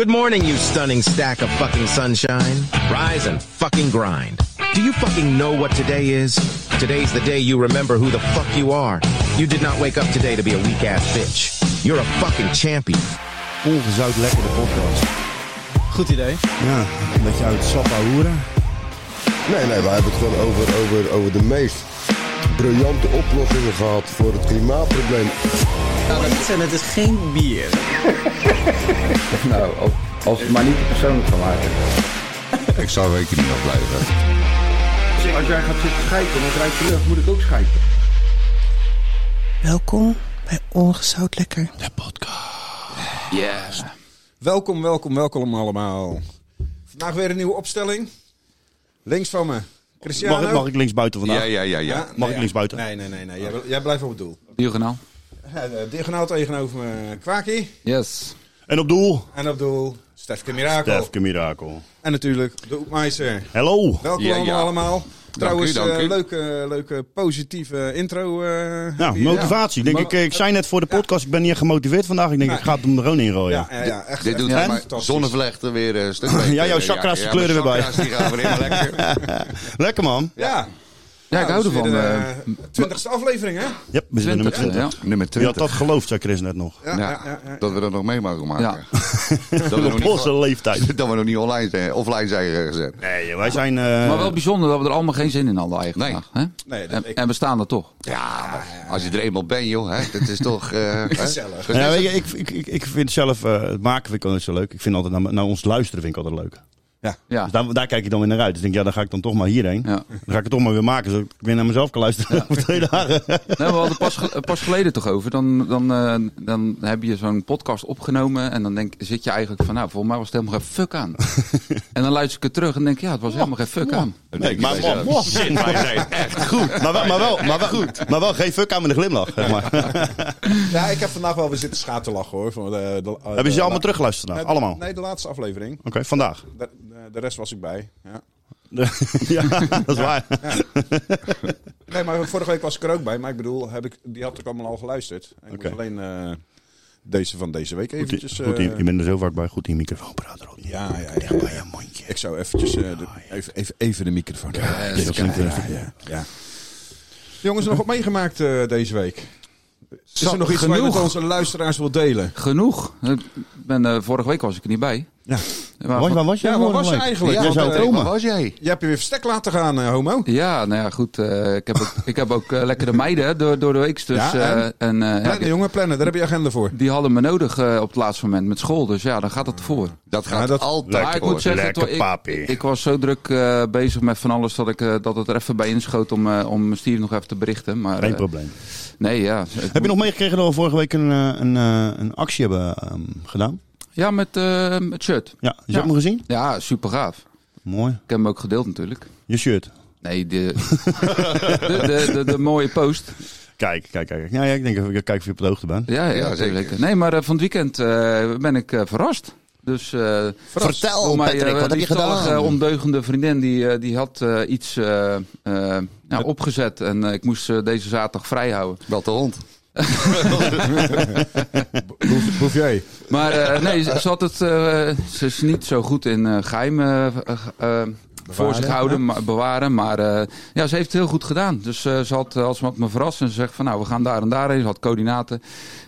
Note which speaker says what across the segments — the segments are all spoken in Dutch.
Speaker 1: Good morning, you stunning stack of fucking sunshine. Rise and fucking grind. Do you fucking know what today is? Today's the day you remember who the fuck you are. You did not wake up today to be a weak ass bitch. You're a fucking champion.
Speaker 2: Ongezout lekkere podcast.
Speaker 3: Goed idee.
Speaker 2: Ja, een beetje uit Sappa hoeren.
Speaker 4: Nee, nee, wij hebben het gewoon over, over, over de meest briljante oplossingen gehad voor het klimaatprobleem.
Speaker 3: Nou, dat zijn, het is geen bier.
Speaker 5: Nou, als, als het maar niet te persoonlijk van maken.
Speaker 6: Ik zou een weekje niet afblijven.
Speaker 5: Als jij gaat zitten schijten, dan ruikt je lucht, moet ik ook schijten.
Speaker 7: Welkom bij Ongezout Lekker.
Speaker 8: Welkom, welkom, welkom allemaal. Vandaag weer een nieuwe opstelling. Links van me, Cristiano.
Speaker 2: Mag, mag ik links buiten vandaag?
Speaker 6: Ja, ja, ja, ja.
Speaker 8: Ah,
Speaker 2: mag ik links buiten?
Speaker 8: Nee, nee, nee. nee. Jij, jij blijft op het doel.
Speaker 9: Diagonaal.
Speaker 8: Eh, eh, Diagonaal tegenover me, Kwaki.
Speaker 9: Yes.
Speaker 2: En op doel?
Speaker 8: En op doel, Stefke Mirakel.
Speaker 2: Defke Mirakel.
Speaker 8: En natuurlijk de Oepmeister.
Speaker 2: Hallo.
Speaker 8: Welkom
Speaker 6: Ja, ja.
Speaker 8: allemaal, allemaal. Trouwens,
Speaker 6: dank
Speaker 8: eh,
Speaker 6: u.
Speaker 8: leuke, leuke positieve intro. eh,
Speaker 2: Nou,
Speaker 8: hier.
Speaker 2: motivatie. Ik Denk ik, ik zei net voor de podcast, ik ben niet echt gemotiveerd vandaag. Ik denk, ik ga het hem er gewoon in gooien.
Speaker 8: Ja, ja, ja, echt,
Speaker 6: Dit
Speaker 8: echt
Speaker 6: doet
Speaker 2: Hè?
Speaker 6: maar
Speaker 8: fantastisch.
Speaker 6: zonnevlechten weer eh, een stuk beter.
Speaker 2: Ja, jouw chakra's die kleuren
Speaker 6: mijn
Speaker 2: weer bij.
Speaker 6: chakra's die gaan weer helemaal lekker.
Speaker 2: Lekker man.
Speaker 8: Ja.
Speaker 9: Ja, ik hou
Speaker 8: Nou,
Speaker 9: ervan. eh,
Speaker 8: Twintigste aflevering, hè?
Speaker 2: Yep, we zitten nummer
Speaker 9: 20,
Speaker 2: 20.
Speaker 9: ja.
Speaker 6: Nummer
Speaker 2: Je had
Speaker 6: 20.
Speaker 2: dat geloofd, zei Chris net nog.
Speaker 6: Ja, Dat we dat nog mee mogen maken. Dat, we nog
Speaker 2: Op onze
Speaker 6: niet,
Speaker 2: leeftijd.
Speaker 6: dat we nog niet online zijn, offline zijn eh, gezet.
Speaker 2: Nee, wij zijn... eh,
Speaker 9: Maar wel bijzonder dat we er allemaal geen zin in hadden eigenlijk.
Speaker 6: Nee.
Speaker 9: vandaag, hè?
Speaker 8: Nee, dat-
Speaker 9: en,
Speaker 8: ik-
Speaker 9: en we staan er toch.
Speaker 6: Ja, maar als je er eenmaal bent, joh. Hè, dat is toch... eh, hè?
Speaker 8: Gezellig.
Speaker 2: nou ja, weet je, ik, ik, ik, ik vind zelf, eh, het maken vind ik altijd zo leuk. Ik vind altijd, naar, naar ons luisteren vind ik altijd leuk.
Speaker 9: Ja.
Speaker 2: Dus daar, daar kijk je dan weer naar uit. Dus ik denk, ja, dan ga ik dan toch maar hierheen.
Speaker 9: Ja.
Speaker 2: Dan ga ik het toch maar weer maken, zodat ik weer naar mezelf kan luisteren over twee dagen.
Speaker 9: Nee, we hadden pas, ge- pas geleden toch over. Dan, dan, eh, dan heb je zo'n podcast opgenomen. En dan denk, zit je eigenlijk van, nou, volgens mij was het helemaal geen fuck aan. en dan luister ik het terug en denk, ja, het was helemaal geen fuck aan.
Speaker 2: Nee, maar man, man, shit, wij zijn echt goed. Maar, wel- maar, wel, maar, wel, goed. maar wel geen fuck aan met een glimlach. Zeg maar.
Speaker 8: Ja, ik heb vandaag wel weer zitten schaterlachen, hoor. Van eh, de, de,
Speaker 2: Hebben ze je allemaal teruggeluisterd?
Speaker 8: Nee,
Speaker 2: Nou?
Speaker 8: de-
Speaker 2: Allemaal? Oké,
Speaker 8: Nee, de laatste aflevering.
Speaker 2: vandaag.
Speaker 8: De, de- de rest was ik bij. Ja.
Speaker 2: ja, dat is waar.
Speaker 8: Nee, maar vorige week was ik er ook bij. Maar ik bedoel, heb ik, die had ik allemaal al geluisterd. En Ik
Speaker 2: Oké.
Speaker 8: moest alleen eh, deze van deze week
Speaker 2: Goed,
Speaker 8: eventjes...
Speaker 2: goed,
Speaker 8: eh,
Speaker 2: je bent er zo vaak bij. Goed in je microfoon praten, Ron.
Speaker 8: ja, ja,
Speaker 2: Dicht
Speaker 8: ja.
Speaker 2: bij je mondje.
Speaker 8: Ik zou eventjes eh, de-
Speaker 2: Ah,
Speaker 8: even, even, even de microfoon... Ja,
Speaker 2: Dit klinkt
Speaker 8: ja,
Speaker 2: weer even-
Speaker 8: ja, ja. Jongens, nog wat meegemaakt eh, deze week? Is er nog iets wat je met
Speaker 9: genoeg.
Speaker 8: onze luisteraars wil delen?
Speaker 9: Genoeg. Ik ben, eh, vorige week was ik er niet bij.
Speaker 8: Ja.
Speaker 9: Maar-
Speaker 2: Waar, waar was jij
Speaker 8: Ja, waar
Speaker 2: vorige
Speaker 8: was je
Speaker 2: week?
Speaker 8: eigenlijk?
Speaker 2: Jij
Speaker 8: Ja,
Speaker 2: zou
Speaker 8: want, eh,
Speaker 2: komen.
Speaker 6: Waar was jij?
Speaker 8: Je hebt je weer verstek laten gaan, eh, homo.
Speaker 9: Ja, nou ja, goed. eh, ik heb ook, ik heb ook eh, lekkere meiden hè, door, door de week. Dus,
Speaker 8: Ja,
Speaker 9: eh,
Speaker 8: en?
Speaker 9: en, eh, ja,
Speaker 8: Plannen,
Speaker 9: die,
Speaker 8: jongen, plannen. Daar heb je agenda voor.
Speaker 9: die hadden me nodig eh, op het laatste moment met school. Dus ja, dan gaat het voor.
Speaker 6: Dat gaat
Speaker 8: Ja, dat-
Speaker 6: altijd
Speaker 9: maar ik
Speaker 6: door.
Speaker 9: moet zeggen,
Speaker 2: Lekker
Speaker 9: het wa- ik-
Speaker 2: papie.
Speaker 9: Ik, was zo druk eh, bezig met van alles dat, ik, eh, dat het er even bij inschoot om, eh, om Steve nog even te berichten. Maar,
Speaker 2: Geen
Speaker 9: eh,
Speaker 2: probleem.
Speaker 9: nee, ja.
Speaker 2: Heb je nog meegekregen dat we vorige week een, eh, een, eh, een actie hebben ehm, gedaan?
Speaker 9: Ja, met eh, het shirt.
Speaker 2: Ja, dus je hebt hem gezien?
Speaker 9: Ja, super gaaf.
Speaker 2: Mooi.
Speaker 9: Ik heb hem ook gedeeld natuurlijk.
Speaker 2: Je shirt.
Speaker 9: Nee, de, de, de, de, de mooie post.
Speaker 2: Kijk, kijk, kijk. Ja, ja, ik denk even ik kijk of je op de hoogte bent.
Speaker 9: Ja, ja,
Speaker 6: Ja,
Speaker 9: zeker.
Speaker 6: zeker.
Speaker 9: Nee, maar eh, van het weekend eh, ben ik eh, verrast. Dus, eh,
Speaker 6: Vertel,
Speaker 9: door mijn,
Speaker 6: Patrick,
Speaker 9: eh,
Speaker 6: wat heb je
Speaker 9: lieftallige,
Speaker 6: gedaan?
Speaker 9: eh, ondeugende vriendin die, eh, die had eh, iets eh, eh, nou, opgezet en eh, ik moest eh, deze zaterdag vrijhouden.
Speaker 6: Wel de hond.
Speaker 8: Boef- Bouffier.
Speaker 9: Maar eh, nee, ze, ze had het, eh, ze is niet zo goed in eh, geheim eh, eh, eh, voor zich houden, maar, bewaren. Maar eh, ja, ze heeft het heel goed gedaan. Dus eh, ze had, eh, als ze had me verrast en ze zegt van nou, we gaan daar en daarheen. Ze had coördinaten.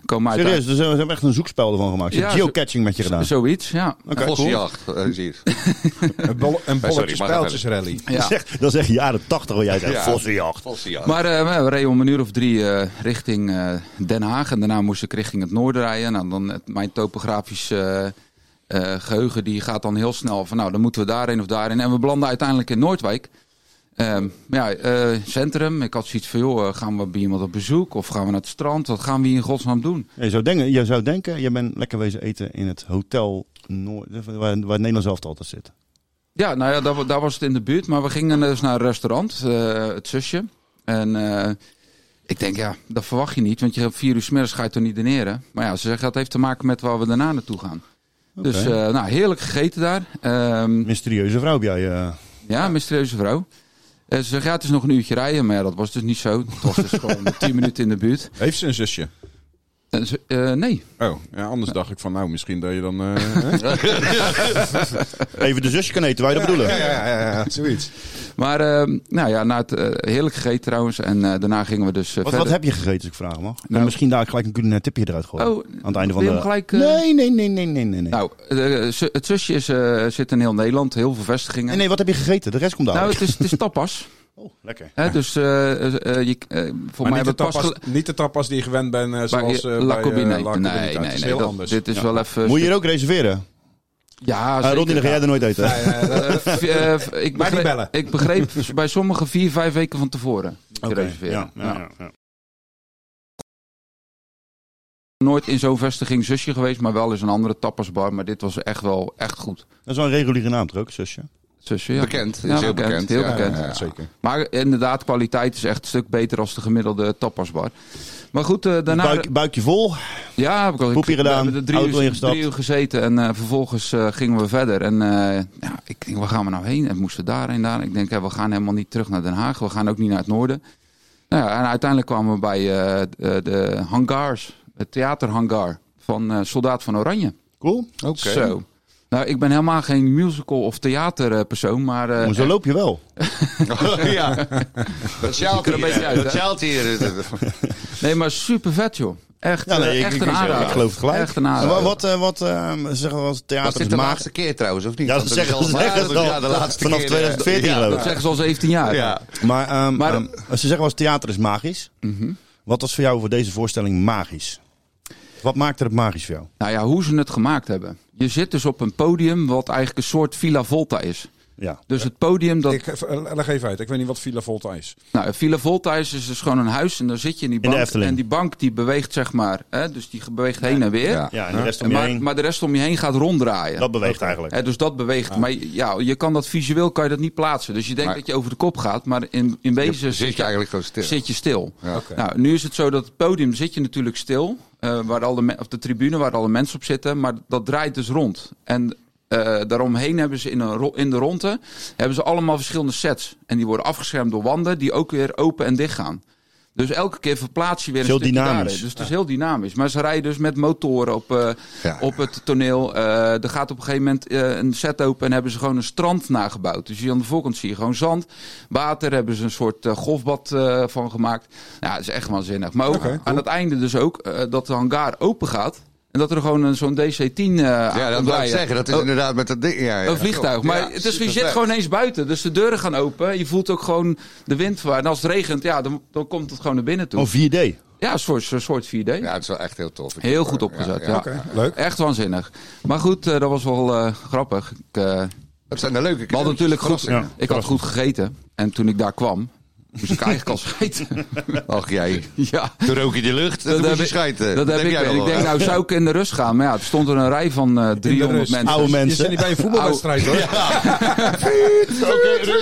Speaker 9: Komen uit
Speaker 2: Serieus, dus we hebben echt een zoekspel ervan gemaakt. Ze
Speaker 9: Ja,
Speaker 2: hebben geocaching met je gedaan.
Speaker 9: Zoiets, ja.
Speaker 2: Oké, cool.
Speaker 6: Vossenjacht, eh, zie je. het.
Speaker 8: Een,
Speaker 9: Eh,
Speaker 8: bolle- een
Speaker 6: maar
Speaker 8: bolletje
Speaker 6: ga
Speaker 8: spijltjesrally.
Speaker 2: Dat
Speaker 9: ja.
Speaker 2: is echt- Dat is echt jaren tachtig wat jij zegt.
Speaker 6: Ja.
Speaker 2: Vossenjacht.
Speaker 6: Vossenjacht.
Speaker 9: Maar eh, we reden om een uur of drie eh, richting eh, Den Haag. En daarna moest ik richting het noorden rijden. Nou, dan het, mijn topografisch eh, eh, geheugen die gaat dan heel snel van... nou, dan moeten we daarheen of daarheen. En we belanden uiteindelijk in Noordwijk. Ehm, maar ja, eh, centrum. Ik had zoiets van, joh, eh, gaan we bij iemand op bezoek? Of gaan we naar het strand? Wat gaan we hier in godsnaam doen?
Speaker 2: Ja, Je zou denken, je zou denken, je bent lekker wezen eten in het hotel Noord, waar, waar het Nederlands zelf altijd zit.
Speaker 9: Ja, nou ja, daar, wa- daar was het in de buurt. Maar we gingen dus naar een restaurant, eh, het zusje. En eh, ik denk, ja, dat verwacht je niet. Want je hebt vier uur smiddags ga je toch niet dineren. Maar ja, ze zeggen dat heeft te maken met waar we daarna naartoe gaan. Dus eh, nou, heerlijk gegeten daar. Ehm,
Speaker 2: Mysterieuze vrouw heb jij. eh.
Speaker 9: ja, mysterieuze vrouw. Eh, ze zegt, ja, het is nog een uurtje rijden. Maar ja, dat was dus niet zo. Het was dus gewoon tien minuten in de buurt.
Speaker 8: Heeft ze een zusje?
Speaker 9: Eh, z- eh, nee.
Speaker 8: Oh, ja, anders dacht ik van, nou, misschien dat je dan... eh, hè?
Speaker 2: Even de zusje kan eten, wij dat bedoelen.
Speaker 8: ja, ja, ja, ja, zoiets.
Speaker 9: Maar eh, nou ja, na het eh, heerlijk gegeten trouwens. En eh, daarna gingen we dus eh,
Speaker 2: Wat, wat
Speaker 9: verder.
Speaker 2: heb je gegeten, als ik vragen mag?
Speaker 9: Nou,
Speaker 2: Nou, misschien daar gelijk een culinair tipje eruit gooien.
Speaker 9: Oh,
Speaker 2: aan het einde van
Speaker 9: wil je
Speaker 2: de...
Speaker 9: hem gelijk, eh?
Speaker 2: Nee, nee, nee, nee, nee, nee. Nee.
Speaker 9: Nou, eh, zu- het zusje is, eh, zit in heel Nederland, heel veel vestigingen.
Speaker 2: nee, nee, wat heb je gegeten? De rest komt daar.
Speaker 9: Nou, het is, het is tapas.
Speaker 2: oh, lekker.
Speaker 9: Hè? Dus eh, eh, eh, je, eh, voor
Speaker 8: Maar
Speaker 9: mij
Speaker 8: niet de,
Speaker 9: hebben we pas...
Speaker 8: tapas,
Speaker 9: gel-
Speaker 8: niet de tapas die je gewend bent, eh, zoals eh,
Speaker 9: bij, eh,
Speaker 8: bij
Speaker 9: La
Speaker 8: eh,
Speaker 9: Combinate.
Speaker 8: La Combinate.
Speaker 9: Nee,
Speaker 8: Het
Speaker 9: nee,
Speaker 8: is
Speaker 9: nee.
Speaker 8: heel
Speaker 9: dat-
Speaker 8: anders.
Speaker 9: Dit is
Speaker 8: Ja.
Speaker 9: wel even...
Speaker 2: Moet je hier ook reserveren?
Speaker 9: Ja,
Speaker 2: Ah, Ronnie, dan ga jij
Speaker 9: zeker.
Speaker 2: er nooit eten.
Speaker 9: Eh, v- eh, v- ik
Speaker 8: Maar niet
Speaker 9: begreep,
Speaker 8: bellen.
Speaker 9: ik begreep bij sommigen vier, vijf weken van tevoren.
Speaker 2: Oké,
Speaker 9: reserveren.
Speaker 2: ja, ja,
Speaker 9: Ja.
Speaker 2: ja, ja.
Speaker 9: Nooit in zo'n vestiging zusje geweest, maar wel eens een andere tapasbar. Maar dit was echt wel echt goed.
Speaker 2: Dat is wel een reguliere naam, toch ook, zusje?
Speaker 9: Zusje, ja.
Speaker 6: Bekend, is
Speaker 9: Ja,
Speaker 6: heel bekend.
Speaker 9: heel
Speaker 6: ja,
Speaker 9: bekend.
Speaker 6: ja, ja.
Speaker 8: Zeker.
Speaker 9: Maar inderdaad, kwaliteit is echt een stuk beter als de gemiddelde tapasbar. Maar goed, eh, daarna...
Speaker 2: Buik, buikje vol.
Speaker 9: Ja, heb ik al-
Speaker 2: Poepje
Speaker 9: we
Speaker 2: gedaan,
Speaker 9: hebben er drie
Speaker 2: auto
Speaker 9: uur,
Speaker 2: ingestapt.
Speaker 9: drie uur gezeten en eh, vervolgens eh, gingen we verder. En eh, ja, ik denk, waar gaan we nou heen? En we moesten daarheen, daar. Ik denk, hè, we gaan helemaal niet terug naar Den Haag. We gaan ook niet naar het noorden. Nou ja, en uiteindelijk kwamen we bij eh, de, de hangars, het theaterhangar van eh, Soldaat van Oranje.
Speaker 2: Cool.
Speaker 9: Eh,
Speaker 6: Oké.
Speaker 9: Zo. Nou, ik ben helemaal geen musical of theaterpersoon, maar... eh,
Speaker 2: Maar zo loop je wel.
Speaker 6: ja. Dat sjaalt
Speaker 9: er een beetje uit, hè?
Speaker 6: Dat sjaalt hier.
Speaker 9: Nee, maar super vet, joh. Echt,
Speaker 2: Ja, nee,
Speaker 9: eh,
Speaker 2: ik-
Speaker 9: echt
Speaker 2: ik-
Speaker 9: een
Speaker 2: ik-
Speaker 9: aanrader.
Speaker 2: ik geloof het gelijk.
Speaker 9: Echt een
Speaker 2: En wa-
Speaker 9: aanrader.
Speaker 2: wat, eh, wat eh, zeggen we als
Speaker 6: Was
Speaker 2: theater
Speaker 6: dit
Speaker 2: is
Speaker 6: de
Speaker 2: maag...
Speaker 6: laatste keer trouwens, of niet?
Speaker 2: Ja,
Speaker 6: Want
Speaker 2: ze
Speaker 6: dat
Speaker 2: zeggen,
Speaker 6: is
Speaker 2: ze
Speaker 6: al-
Speaker 2: zeggen het al.
Speaker 6: Ja, de laatste
Speaker 2: Vanaf
Speaker 6: keer, eh,
Speaker 2: 2014
Speaker 6: ja,
Speaker 2: geloof
Speaker 9: Dat zeggen ze al 17 jaar.
Speaker 6: Ja.
Speaker 2: Maar, ehm,
Speaker 9: Maar-
Speaker 2: ehm, Mhm. als ze zeggen als theater is magisch, wat was voor jou voor deze voorstelling magisch? Wat maakte het magisch voor jou?
Speaker 9: Nou ja, hoe ze het gemaakt hebben. Je zit dus op een podium wat eigenlijk een soort Villa Volta is.
Speaker 2: Ja.
Speaker 9: Dus het podium dat...
Speaker 8: Ik, eh, leg even uit, ik weet niet wat Villa Volta is.
Speaker 9: Nou, Villa Volta is is dus gewoon een huis en dan zit je in die
Speaker 2: In de
Speaker 9: bank.
Speaker 2: Efteling.
Speaker 9: en die bank die beweegt zeg maar, hè, dus die beweegt heen en weer.
Speaker 6: Ja.
Speaker 2: Ja, en de rest om
Speaker 9: En
Speaker 2: je
Speaker 9: Maar,
Speaker 2: heen,
Speaker 9: maar de rest om je heen gaat ronddraaien.
Speaker 2: dat beweegt eigenlijk.
Speaker 9: Hè, dus dat beweegt. Maar ja, je kan dat visueel kan je dat niet plaatsen. Dus je denkt
Speaker 6: Maar-
Speaker 9: dat je over de kop gaat, maar in, in wezen
Speaker 6: Dan Zit je eigenlijk gewoon stil.
Speaker 9: zit je stil.
Speaker 6: Ja.
Speaker 8: Oké.
Speaker 9: Nou, nu is het zo dat het podium zit je natuurlijk stil, eh, waar al de me- op de tribune waar alle mensen op zitten, maar dat draait dus rond. En eh, daaromheen hebben ze in, een ro- in de ronde hebben ze allemaal verschillende sets. En die worden afgeschermd door wanden die ook weer open en dicht gaan. Dus elke keer verplaats je weer een
Speaker 2: Heel
Speaker 9: stukje
Speaker 2: dynamisch.
Speaker 9: daarin. Dus het is heel dynamisch. Maar ze rijden dus met motoren op, eh,
Speaker 6: Ja.
Speaker 9: op het toneel. Eh, er gaat op een gegeven moment eh, een set open en hebben ze gewoon een strand nagebouwd. Dus hier aan de voorkant zie je gewoon zand, water. Hebben ze een soort eh, golfbad eh, van gemaakt. Ja, dat is echt waanzinnig. Maar ook aan het einde dus ook eh, dat de hangar open gaat. En dat er gewoon een- zo'n DC-10 eh Oh,
Speaker 6: Ja, dat wil ik zeggen. Dat is inderdaad met dat ding. Ja, ja.
Speaker 9: een vliegtuig. Maar
Speaker 6: Ja,
Speaker 9: het is, je zit
Speaker 6: supervet.
Speaker 9: gewoon eens buiten. Dus de deuren gaan open. Je voelt ook gewoon de wind. waar- En als het regent, ja, dan, dan komt het gewoon naar binnen toe.
Speaker 2: Oh, 4D.
Speaker 9: Ja, een soort, een soort 4D.
Speaker 6: Ja, het is wel echt heel tof. Ik
Speaker 9: Heel
Speaker 6: vind
Speaker 9: goed
Speaker 6: het,
Speaker 9: opgezet, ja.
Speaker 8: leuk.
Speaker 9: Echt waanzinnig. Maar goed, eh, dat was wel eh, grappig. Ik, eh,
Speaker 6: Dat zijn de leuke
Speaker 9: we hadden natuurlijk goed,
Speaker 2: verrassing.
Speaker 9: ik had goed gegeten. En toen ik daar kwam, moest ik eigenlijk al schijten.
Speaker 6: Ach jij.
Speaker 9: ja.
Speaker 6: Toen rook je de lucht. Dat,
Speaker 9: heb
Speaker 6: moest je
Speaker 9: ik-
Speaker 6: schijten.
Speaker 9: Dat heb ik.
Speaker 6: jij
Speaker 9: wel. Ik
Speaker 6: wel.
Speaker 9: denk, nou zou ik in de rust gaan. Maar ja, er stond er een rij van eh 300
Speaker 8: rust.
Speaker 9: mensen.
Speaker 2: Oude
Speaker 8: Je
Speaker 2: mensen.
Speaker 8: zit niet bij een voetbalwedstrijd hoor.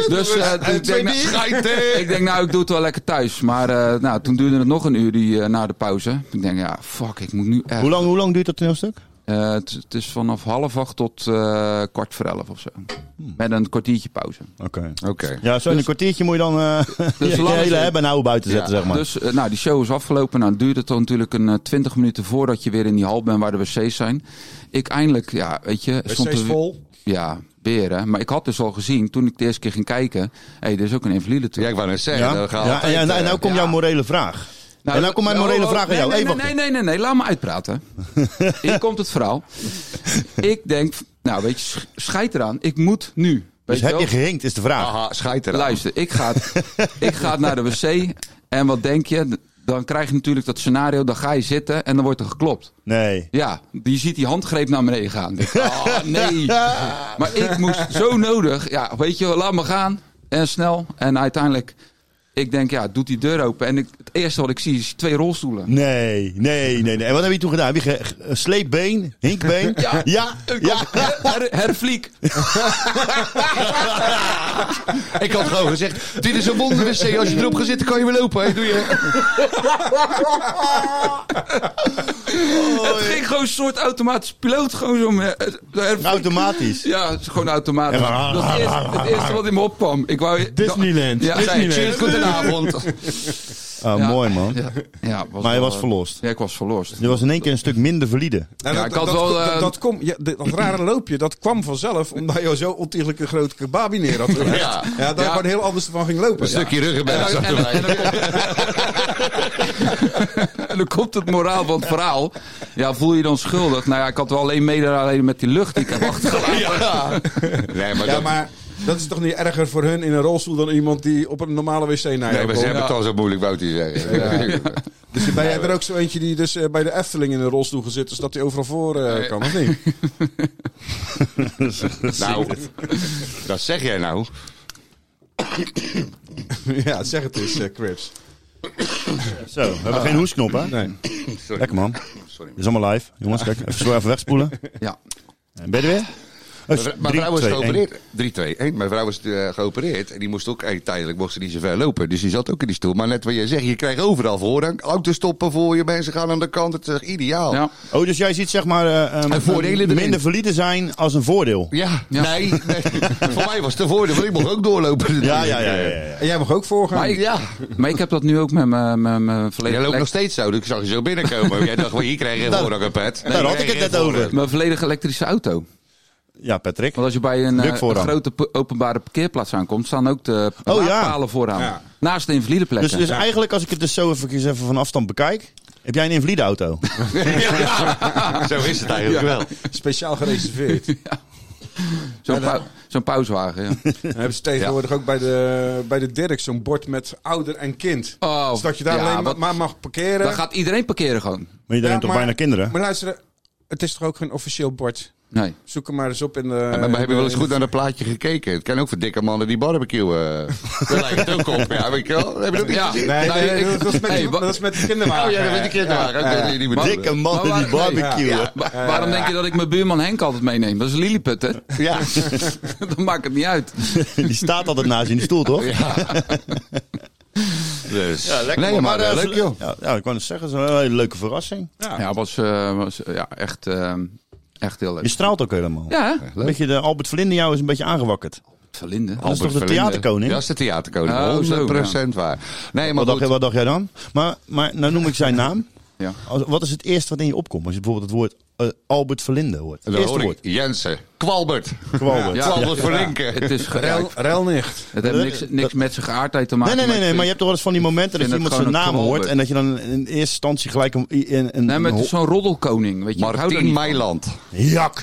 Speaker 9: Dus eh, ik, denk, nou- ik denk, nou, ik doe het wel lekker thuis. Maar eh, nou, toen duurde het nog een uur die, eh, na de pauze. Ik denk, ja, fuck, ik moet nu echt.
Speaker 2: Hoe, lang, hoe lang duurt dat toneelstuk?
Speaker 9: Eh, het, het is vanaf half acht tot eh, kwart voor elf of zo. Met een kwartiertje pauze.
Speaker 2: Oké.
Speaker 6: Oké.
Speaker 2: Ja, zo in een kwartiertje moet je dan eh
Speaker 9: Dus
Speaker 2: je
Speaker 9: lang is
Speaker 2: hele
Speaker 9: het.
Speaker 2: hebben en oude buiten zetten, zeg maar.
Speaker 9: Dus eh, nou, die show is afgelopen. Nou, het duurde toch natuurlijk een twintig minuten voordat je weer in die hal bent waar de wc's zijn. Ik eindelijk, ja, weet je... stond
Speaker 8: is
Speaker 9: er-
Speaker 8: vol.
Speaker 9: Ja, weer hè. Maar ik had dus al gezien, toen ik de eerste keer ging kijken... Hé, hey, er is ook een invalide toe.
Speaker 6: Ja, ik wou net zeggen.
Speaker 2: ja?
Speaker 6: dan gaan we
Speaker 2: Ja, en,
Speaker 6: altijd,
Speaker 2: ja, nou,
Speaker 6: eh,
Speaker 2: nou komt jouw morele vraag. en nou komt mijn
Speaker 9: oh,
Speaker 2: morele
Speaker 9: oh,
Speaker 2: vraag aan
Speaker 9: nee,
Speaker 2: jou.
Speaker 9: Nee,
Speaker 2: Even
Speaker 9: nee,
Speaker 2: wachten.
Speaker 9: nee, nee, nee, nee, laat me uitpraten. Hier komt het verhaal. Ik denk, nou weet je, sch- scheid eraan. Ik moet nu. Weet
Speaker 2: Dus heb
Speaker 9: wel?
Speaker 2: je gehinkt, is de vraag.
Speaker 6: Aha, schijt eraan.
Speaker 9: Luister, ik ga, ik ga naar de wc. En wat denk je? Dan krijg je natuurlijk dat scenario. Dan ga je zitten en dan wordt er geklopt.
Speaker 2: Nee.
Speaker 9: Ja, die ziet die handgreep naar beneden gaan. Ik Denk, oh nee. Maar ik moest zo nodig. Ja, weet je, laat me gaan. En snel. En uiteindelijk, ik denk, ja, doet die deur open. En ik, het eerste wat ik zie is twee rolstoelen.
Speaker 2: Nee, nee, nee, nee. En wat heb je toen gedaan? Heb je ge- ge- sleepbeen, hinkbeen?
Speaker 9: Ja.
Speaker 2: ja. ja.
Speaker 9: Her, her- hervliek.
Speaker 6: Ik had gewoon gezegd, dit is een wonder wc. Als je erop gaat zitten, kan je weer lopen. hè. Doe je.
Speaker 9: het ging gewoon een soort automatisch piloot. Gewoon zo met, eh, de hervliek.
Speaker 2: Automatisch.
Speaker 9: Ja, het is gewoon automatisch.
Speaker 2: Ja, maar-
Speaker 9: Dat is het eerste wat in me opkwam. Ik wou,
Speaker 8: Disneyland,
Speaker 9: Ja, zei,
Speaker 8: Disneyland.
Speaker 9: cheers, good avond.
Speaker 2: Oh,
Speaker 9: Ja.
Speaker 2: mooi man.
Speaker 9: Ja, ja, was
Speaker 2: Maar je
Speaker 9: wel- eh,
Speaker 2: was verlost.
Speaker 9: Ja, ik was verlost.
Speaker 2: Je was in één keer een stuk minder valide.
Speaker 8: Nou,
Speaker 9: Ja,
Speaker 8: dat,
Speaker 9: ik had
Speaker 8: dat,
Speaker 9: wel,
Speaker 8: dat,
Speaker 9: eh,
Speaker 8: dat kom, ja, dat, dat rare loopje, dat kwam vanzelf omdat je zo ontiegelijk een grote kebabi neer had gelegd.
Speaker 9: Ja.
Speaker 8: Ja, daar
Speaker 9: Ja.
Speaker 8: gewoon heel anders van ging
Speaker 6: Een
Speaker 8: lopen.
Speaker 6: stukje
Speaker 9: En dan,
Speaker 6: ruggenberg zat
Speaker 9: en, dan-
Speaker 6: erbij.
Speaker 9: en dan komt, en dan komt het moraal van het verhaal. Ja, voel je je dan schuldig? Nou ja, ik had wel alleen mede alleen met die lucht die ik heb achtergelaten.
Speaker 6: Nee, maar,
Speaker 8: Ja,
Speaker 6: dat,
Speaker 8: maar dat is toch niet erger voor hun in een rolstoel dan iemand die op een normale wc naar
Speaker 6: nee,
Speaker 8: je
Speaker 6: maar ze
Speaker 8: komt?
Speaker 6: hebben het al zo moeilijk, wou hij zeggen. Ja.
Speaker 8: Dus ben jij er ook zo eentje die dus eh, bij de Efteling in een rolstoel gezit, zodat hij overal voor eh,
Speaker 9: Nee.
Speaker 8: kan, of niet?
Speaker 6: Nou, dat zeg jij nou.
Speaker 8: ja, zeg het eens, eh, Crips.
Speaker 2: Zo, we hebben geen hoesknop hè?
Speaker 8: Nee.
Speaker 2: Lekker man.
Speaker 6: Sorry.
Speaker 2: Dit is allemaal live. Jongens, kijk, even, zo even wegspoelen.
Speaker 9: Ja.
Speaker 2: En Ben je er weer? Oh,
Speaker 6: Mijn
Speaker 2: drie,
Speaker 6: vrouw was
Speaker 2: twee, één.
Speaker 6: geopereerd. 3, 2, 1. Mijn vrouw was eh, geopereerd. En die moest ook eh, tijdelijk mocht ze niet zo ver lopen. Dus die zat ook in die stoel. Maar net wat jij zegt, je krijgt overal voorrang. Autostoppen voor je. Mensen gaan aan de kant. Het is echt ideaal.
Speaker 9: Ja.
Speaker 2: Oh, dus jij ziet zeg maar eh, ehm,
Speaker 6: En voordelen erin.
Speaker 2: minder valide zijn als een voordeel.
Speaker 6: Ja,
Speaker 9: Ja.
Speaker 6: nee. nee. voor mij was het een voordeel, want ik mocht ook doorlopen.
Speaker 2: Ja, ja, ja. ja, ja.
Speaker 8: En jij mag ook voorgaan.
Speaker 9: Maar ik, ja. maar ik heb dat nu ook met mijn- mijn mijn
Speaker 6: Jij
Speaker 9: volledige
Speaker 6: loopt nog
Speaker 9: elekt-
Speaker 6: steeds zo. dus Ik zag je zo binnenkomen. Jij dacht, wel, hier krijg je geen voorrang een pet.
Speaker 2: Nou, Daar had ik het net over.
Speaker 9: mijn volledige elektrische auto.
Speaker 2: Ja, Patrick.
Speaker 9: Want als je bij een, eh,
Speaker 2: Druk vooraan.
Speaker 9: grote p- openbare parkeerplaats aankomt, staan ook de
Speaker 2: Oh, ja.
Speaker 9: laadpalen vooraan.
Speaker 8: Ja.
Speaker 9: Naast de invalideplekken.
Speaker 2: Dus, dus eigenlijk, als ik het dus zo even, even van afstand bekijk, heb jij een invalide auto?
Speaker 6: Ja, Zo is het eigenlijk wel.
Speaker 8: Speciaal gereserveerd.
Speaker 9: Zo'n pau- zo'n pauswagen, ja.
Speaker 8: Dan hebben ze tegenwoordig ook bij de, bij de Dirk zo'n bord met ouder en kind.
Speaker 9: Oh,
Speaker 8: dus dat je daar
Speaker 9: ja,
Speaker 8: alleen
Speaker 9: wat-
Speaker 8: maar- maar mag parkeren.
Speaker 9: Dan gaat iedereen parkeren gewoon.
Speaker 2: Maar je denkt
Speaker 8: Ja,
Speaker 2: toch
Speaker 8: maar-
Speaker 2: bijna kinderen?
Speaker 8: Maar luister, het is toch ook geen officieel bord?
Speaker 9: Nee.
Speaker 8: Zoek hem maar eens op in de...
Speaker 6: Ja, maar we hebben wel eens goed naar dat plaatje gekeken. Het kan ook voor dikke mannen die barbecuen. eh. Daar lijkt het ook op. Ja, weet je wel. Heb je dat niet
Speaker 9: Ja.
Speaker 6: gezien?
Speaker 8: Nee,
Speaker 9: Nou,
Speaker 8: nee,
Speaker 9: ik-
Speaker 8: dat- dat is met,
Speaker 9: Hey, wa-
Speaker 8: dat is met de kinderwagen.
Speaker 6: Oh ja, dat weet ik niet. Ja, ja, ja.
Speaker 2: Dikke man
Speaker 9: Maar
Speaker 2: die
Speaker 9: waar- nee,
Speaker 2: barbecue.
Speaker 9: ja. Wa- Waarom denk je dat ik mijn buurman Henk altijd meeneem? Dat is een Lilliput, hè?
Speaker 6: Ja.
Speaker 9: dat maakt het niet uit.
Speaker 2: Die staat altijd naast je in die stoel, toch?
Speaker 6: Dus.
Speaker 2: Lekker,
Speaker 6: nee, maar,
Speaker 2: eh,
Speaker 6: eh, leuk
Speaker 2: zo-
Speaker 6: joh.
Speaker 2: Ja, ja, ik wou net zeggen, het is een hele leuke verrassing.
Speaker 9: Ja, was, eh, was eh, ja, echt, eh, echt heel
Speaker 2: Je
Speaker 9: leuk.
Speaker 2: straalt ook helemaal.
Speaker 9: Ja,
Speaker 2: Een beetje de Albert Verlinde jou is een beetje aangewakkerd.
Speaker 9: Verlinde.
Speaker 2: Dat is toch de
Speaker 6: Verlinde.
Speaker 2: theaterkoning?
Speaker 6: Ja, dat is de theaterkoning.
Speaker 9: Oh, zo,
Speaker 6: 100% waar. Nee, maar
Speaker 2: Wat dacht,
Speaker 6: goed.
Speaker 2: wat dacht jij dan? Maar, maar nou noem ik zijn naam.
Speaker 9: Ja.
Speaker 2: Als- Wat is het eerste wat in je opkomt als je bijvoorbeeld het woord eh, Albert Verlinde hoort? Het
Speaker 6: Dan
Speaker 2: eerste
Speaker 6: hoor ik
Speaker 2: woord.
Speaker 6: Jensen. Kwalbert.
Speaker 2: Kwalbert.
Speaker 9: Ja.
Speaker 6: Kwalbert van Rinken.
Speaker 9: Het is ge- ja,
Speaker 8: Rel,
Speaker 9: ik-
Speaker 8: relnicht.
Speaker 9: Het heeft niks, niks met zijn geaardheid te
Speaker 2: Nee,
Speaker 9: maken.
Speaker 2: nee, nee, nee, maar je hebt toch wel eens van die momenten dat
Speaker 9: vind
Speaker 2: je iemand
Speaker 9: het
Speaker 2: zijn
Speaker 9: gewoon
Speaker 2: naam
Speaker 9: een
Speaker 2: hoort
Speaker 9: knalbert.
Speaker 2: en dat je dan in eerste instantie gelijk een, een, een,
Speaker 9: Nee, maar het is zo'n roddelkoning. Weet je. Ik hou daar
Speaker 6: Martien
Speaker 9: niet van.
Speaker 6: Meiland.
Speaker 2: jak.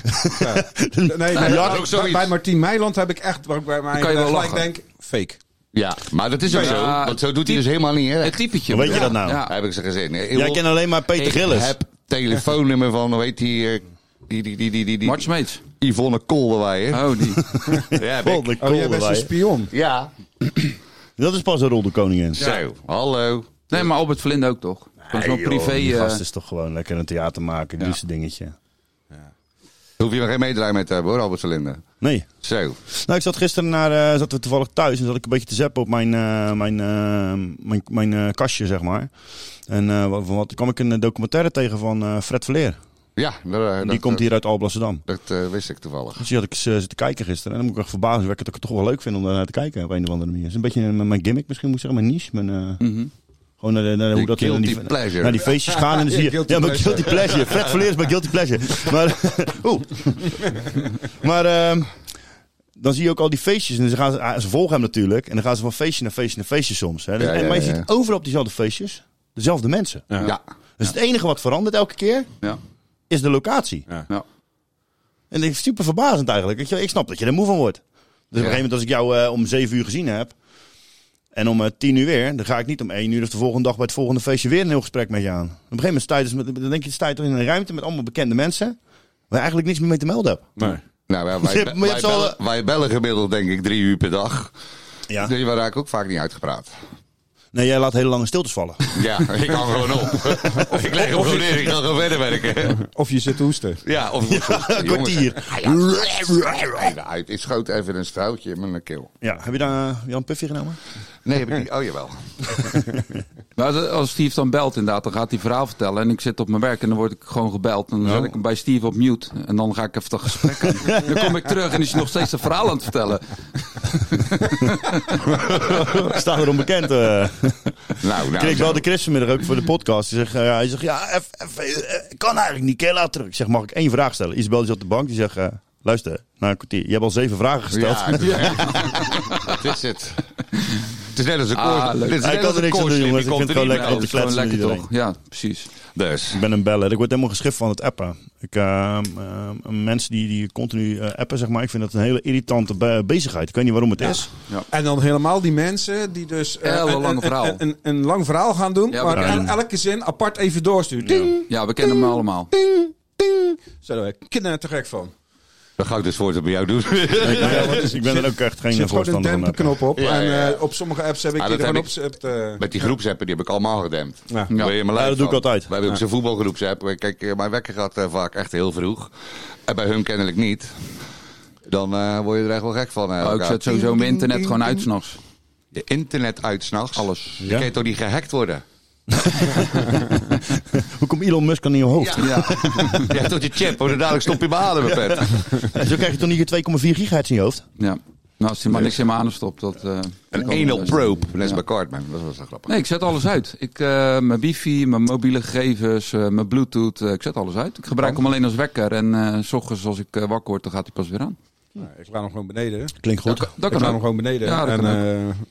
Speaker 8: Nee, maar
Speaker 6: dat
Speaker 8: bij-
Speaker 6: ook zoiets.
Speaker 8: bij Martien Meiland heb ik echt, waar ik bij mij
Speaker 9: kan je wel
Speaker 8: gelijk
Speaker 9: lachen.
Speaker 8: denk, fake.
Speaker 6: Ja, maar dat is ook
Speaker 9: Ja,
Speaker 6: zo. Want zo doet hij dus helemaal niet, hè?
Speaker 9: Het typetje.
Speaker 2: Hoe weet je
Speaker 9: ja.
Speaker 2: dat nou?
Speaker 9: Ja.
Speaker 6: Heb ik ze gezien.
Speaker 2: Jij kent alleen maar Peter
Speaker 9: Ik
Speaker 2: Gillis.
Speaker 6: heb telefoonnummer van, hoe heet die... eh, die, die, die, die, die, die
Speaker 9: Mart Smeets.
Speaker 6: Yvonne Kolderweijer.
Speaker 9: Oh, die.
Speaker 6: Ja, heb ik.
Speaker 2: Volgende
Speaker 8: Oh, jij
Speaker 2: kolder
Speaker 8: bent zo'n
Speaker 2: bij je.
Speaker 8: spion.
Speaker 6: Ja.
Speaker 2: Dat is pas een rol de koningin.
Speaker 6: Zo, hallo.
Speaker 9: Nee, maar Albert Verlinde ook toch? Dat is nog
Speaker 6: joh,
Speaker 9: privé.
Speaker 2: Die
Speaker 9: eh,
Speaker 2: gast is toch gewoon lekker een theater maken,
Speaker 9: Ja.
Speaker 2: doet zijn dingetje.
Speaker 6: Daar hoef je maar geen meedraai mee te hebben hoor, Albert Verlinde.
Speaker 2: Nee.
Speaker 6: Zo.
Speaker 2: Nou, ik zat gisteren naar, eh, zaten we toevallig thuis en zat ik een beetje te zappen op mijn, eh, mijn, eh, mijn, mijn eh, kastje, zeg maar. En eh, wat, wat kwam ik een documentaire tegen van eh, Fred Verleer.
Speaker 6: Ja, eh, dat,
Speaker 2: Die komt hier uit Alblasserdam.
Speaker 6: Dat eh, wist ik toevallig.
Speaker 2: Dus die had ik eens, eh, zitten kijken gisteren. En dan moet ik echt verbazingwekkend dat ik het toch wel leuk vind om daarnaar te kijken op een of andere manier. Het is een beetje eh, mijn gimmick misschien, moet ik zeggen. Mijn niche. Mijn, eh, Gewoon naar, de- naar hoe dat
Speaker 6: Mhm. guilty
Speaker 2: naar die,
Speaker 6: pleasure.
Speaker 2: naar die feestjes gaan. En dan zie je,
Speaker 8: Guilty
Speaker 2: ja, mijn
Speaker 8: pleasure.
Speaker 2: guilty pleasure. Fred Verleer is mijn guilty pleasure. Maar, oeh. maar ehm, dan zie je ook al die feestjes. En ze, gaan, ah, ze volgen hem natuurlijk. En dan gaan ze van feestje naar feestje naar feestje soms. Hè. Dus-
Speaker 6: Ja, ja,
Speaker 2: en, maar je
Speaker 6: ja.
Speaker 2: ziet overal op diezelfde feestjes dezelfde mensen.
Speaker 6: Ja.
Speaker 2: Dus het enige wat verandert elke keer
Speaker 9: ja.
Speaker 2: is de locatie.
Speaker 9: Ja.
Speaker 2: En dat is super verbazend eigenlijk. Weet je wel, Ik snap dat je er moe van wordt. Dus op een gegeven
Speaker 6: Ja.
Speaker 2: moment als ik jou eh, om zeven uur gezien heb... en om eh, tien uur weer... dan ga ik niet om één uur of de volgende dag... bij het volgende feestje weer een heel gesprek met je aan. Op een gegeven moment sta je, dus met, dan denk je, sta je toch in een ruimte... met allemaal bekende mensen... waar je eigenlijk niks meer mee te melden hebt.
Speaker 6: Nou, ja,
Speaker 2: Je
Speaker 6: wij,
Speaker 2: hebt- maar je
Speaker 6: wij,
Speaker 2: hebt ze
Speaker 6: bellen, wij bellen gemiddeld denk ik drie uur per dag.
Speaker 2: Ja.
Speaker 6: Dus we raken ook vaak niet uitgepraat.
Speaker 2: Nee, jij laat hele lange stiltes vallen.
Speaker 6: Ja, ik hang gewoon op. ik leg hem gewoon neer, ik ga gewoon verder werken.
Speaker 8: Of je zit te hoesten.
Speaker 6: Ja, of ik moet
Speaker 2: Een kwartier.
Speaker 6: Het is schoot even een stoutje in mijn keel.
Speaker 2: Ja, heb je daar eh, Jan Puffy genomen?
Speaker 6: Nee, heb ik niet. Oh, jawel.
Speaker 9: Maar als- als Steve dan belt inderdaad, dan gaat hij verhaal vertellen. En ik zit op mijn werk en dan word ik gewoon gebeld. En dan zet ik hem bij Steve op mute. En dan ga ik even dat gesprek aan. dan kom ik terug en is hij nog steeds een verhaal aan het vertellen.
Speaker 2: Staan we onbekend. eh
Speaker 6: Nou, nou.
Speaker 2: kreeg ik
Speaker 6: zo.
Speaker 2: wel de christenmiddag ook voor de podcast. Die zegt, eh, ja, hij zegt, ja, eff, eff, eh, ik kan eigenlijk niet. Keer later. Ik zeg, mag ik één vraag stellen? Isabel die zat op de bank. Die zegt, eh, luister, na een kwartier. Je hebt al zeven vragen gesteld.
Speaker 6: Ja, dat is het. Het is net als een koor.
Speaker 9: Ah, leuk.
Speaker 6: Dit is
Speaker 2: Hij
Speaker 6: net
Speaker 2: kan er
Speaker 6: als
Speaker 2: niks aan
Speaker 6: een
Speaker 2: doen,
Speaker 6: koorslip,
Speaker 2: jongens.
Speaker 6: die
Speaker 2: Ik
Speaker 6: komt
Speaker 2: vind het
Speaker 6: er
Speaker 9: Ja,
Speaker 2: gewoon
Speaker 6: niet
Speaker 2: lekker
Speaker 6: uit.
Speaker 9: dat
Speaker 2: te
Speaker 9: is gewoon
Speaker 2: kletsen met
Speaker 9: lekker
Speaker 2: iedereen.
Speaker 9: toch? Ja, precies.
Speaker 6: Dus.
Speaker 2: Ik ben een beller. Ik word helemaal geschift van het appen. Ik, eh, eh, mensen die, die continu eh, appen, zeg maar. Ik vind dat een hele irritante be- bezigheid. Ik weet niet waarom het is.
Speaker 8: En dan helemaal die mensen die dus eh,
Speaker 9: Heel
Speaker 8: een,
Speaker 9: lang
Speaker 8: een-
Speaker 9: verhaal.
Speaker 8: Een, een, een lang verhaal gaan doen,
Speaker 9: Ja,
Speaker 8: maar
Speaker 9: maar-
Speaker 8: el- elke zin apart even doorsturen. Ding,
Speaker 9: Ja, we kennen hem allemaal.
Speaker 8: ding, ding. Zo daar ben ik kinderen te gek van.
Speaker 6: Dan ga ik dus voortaan bij jou doen.
Speaker 2: Ik, ben- ja, wat is- ik ben er ook echt
Speaker 8: Er zit
Speaker 2: geen
Speaker 8: gewoon een
Speaker 2: voorstander van. eh. appen.
Speaker 8: dempenknop op.
Speaker 6: Ja,
Speaker 8: en
Speaker 6: ja, ja.
Speaker 8: eh, op sommige apps heb ik
Speaker 6: Ah,
Speaker 8: die
Speaker 6: dat
Speaker 8: er gewoon
Speaker 6: heb
Speaker 8: op. zet, eh,
Speaker 6: Met die groepsappen, die heb ik allemaal gedemd.
Speaker 8: Ja.
Speaker 6: Daar ben je mijn
Speaker 2: Ja,
Speaker 6: lijf
Speaker 2: dat doe ik
Speaker 6: van.
Speaker 2: altijd.
Speaker 6: Wij hebben ook zo'n voetbalgroepsapp. Kijk, eh, mijn wekker gaat eh, vaak echt heel vroeg. En bij hun kennelijk niet. Dan eh, word je er echt wel gek van. eh,
Speaker 9: Oh, ik
Speaker 6: elkaar.
Speaker 9: zet sowieso mijn internet gewoon uit s'nachts.
Speaker 6: Je internet uit s'nachts. Alles. Je
Speaker 2: Ja.
Speaker 6: kan je toch niet gehackt worden?
Speaker 2: Hoe komt Elon Musk aan in je hoofd?
Speaker 6: Ja. je hebt toch je chip, hoor. Dan dadelijk stop je behalen, mijn pet.
Speaker 2: En zo krijg je toch niet je 2,4 gigahertz in je hoofd?
Speaker 9: Ja. Nou, als hij maar niks in mijn adem stopt, dat... eh,
Speaker 6: Een
Speaker 9: kan
Speaker 6: anal
Speaker 9: best.
Speaker 6: probe. Net als
Speaker 9: Ja.
Speaker 6: bij Cartman. Dat was wel grappig.
Speaker 9: Nee, ik zet alles uit. Ik, eh, mijn wifi, mijn mobiele gegevens, eh, mijn bluetooth, eh, ik zet alles uit. Ik gebruik hem alleen als wekker en eh, s ochtends als ik eh, wakker word, dan gaat hij pas weer aan.
Speaker 8: nou, ik laat hem gewoon beneden.
Speaker 2: Klinkt goed.
Speaker 9: Dat
Speaker 8: ik
Speaker 9: kan
Speaker 8: laat hem
Speaker 9: ook.
Speaker 8: gewoon beneden.
Speaker 9: Ja, dat
Speaker 8: en
Speaker 9: kan
Speaker 8: eh,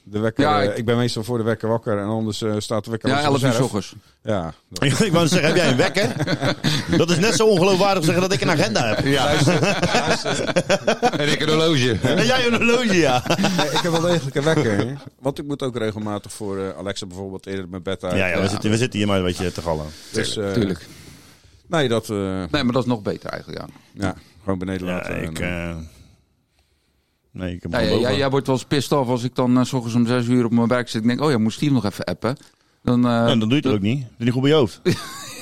Speaker 8: de wekker,
Speaker 9: Ja, ik-
Speaker 8: eh, ik ben meestal voor de wekker wakker. En anders eh, staat de wekker
Speaker 9: Ja,
Speaker 8: als op
Speaker 9: 11 uur s
Speaker 8: zelf.
Speaker 9: ochtends.
Speaker 8: Ja, dat-
Speaker 2: Ik wou net zeggen, heb jij een wekker? Dat is net zo ongeloofwaardig zeggen dat ik een agenda heb.
Speaker 6: Ja. en ik een horloge.
Speaker 2: En jij een horloge, ja.
Speaker 8: Nee, ik heb wel degelijk een wekker. hè. Want ik moet ook regelmatig voor eh, Alexa bijvoorbeeld eerder mijn bed uit.
Speaker 2: Ja, ja, we, zitten, we zitten hier maar een beetje te gallen.
Speaker 8: dus, eh,
Speaker 9: Tuurlijk.
Speaker 8: Nee, dat... eh,
Speaker 9: Nee, maar dat is nog beter eigenlijk, ja.
Speaker 8: ja, gewoon beneden
Speaker 2: Ja,
Speaker 8: laten.
Speaker 2: ik...
Speaker 8: En,
Speaker 2: eh, nee, ik heb
Speaker 9: Ja,
Speaker 2: hem
Speaker 9: ja,
Speaker 2: boven.
Speaker 9: jij, jij wordt wel eens pissed af als ik dan eh, s ochtends om 6 uur op mijn werk zit. Ik denk, oh ja, moet Steve nog even appen. Dan, eh,
Speaker 2: En Nou, dan doe je het ook niet. Dat is niet goed bij je hoofd.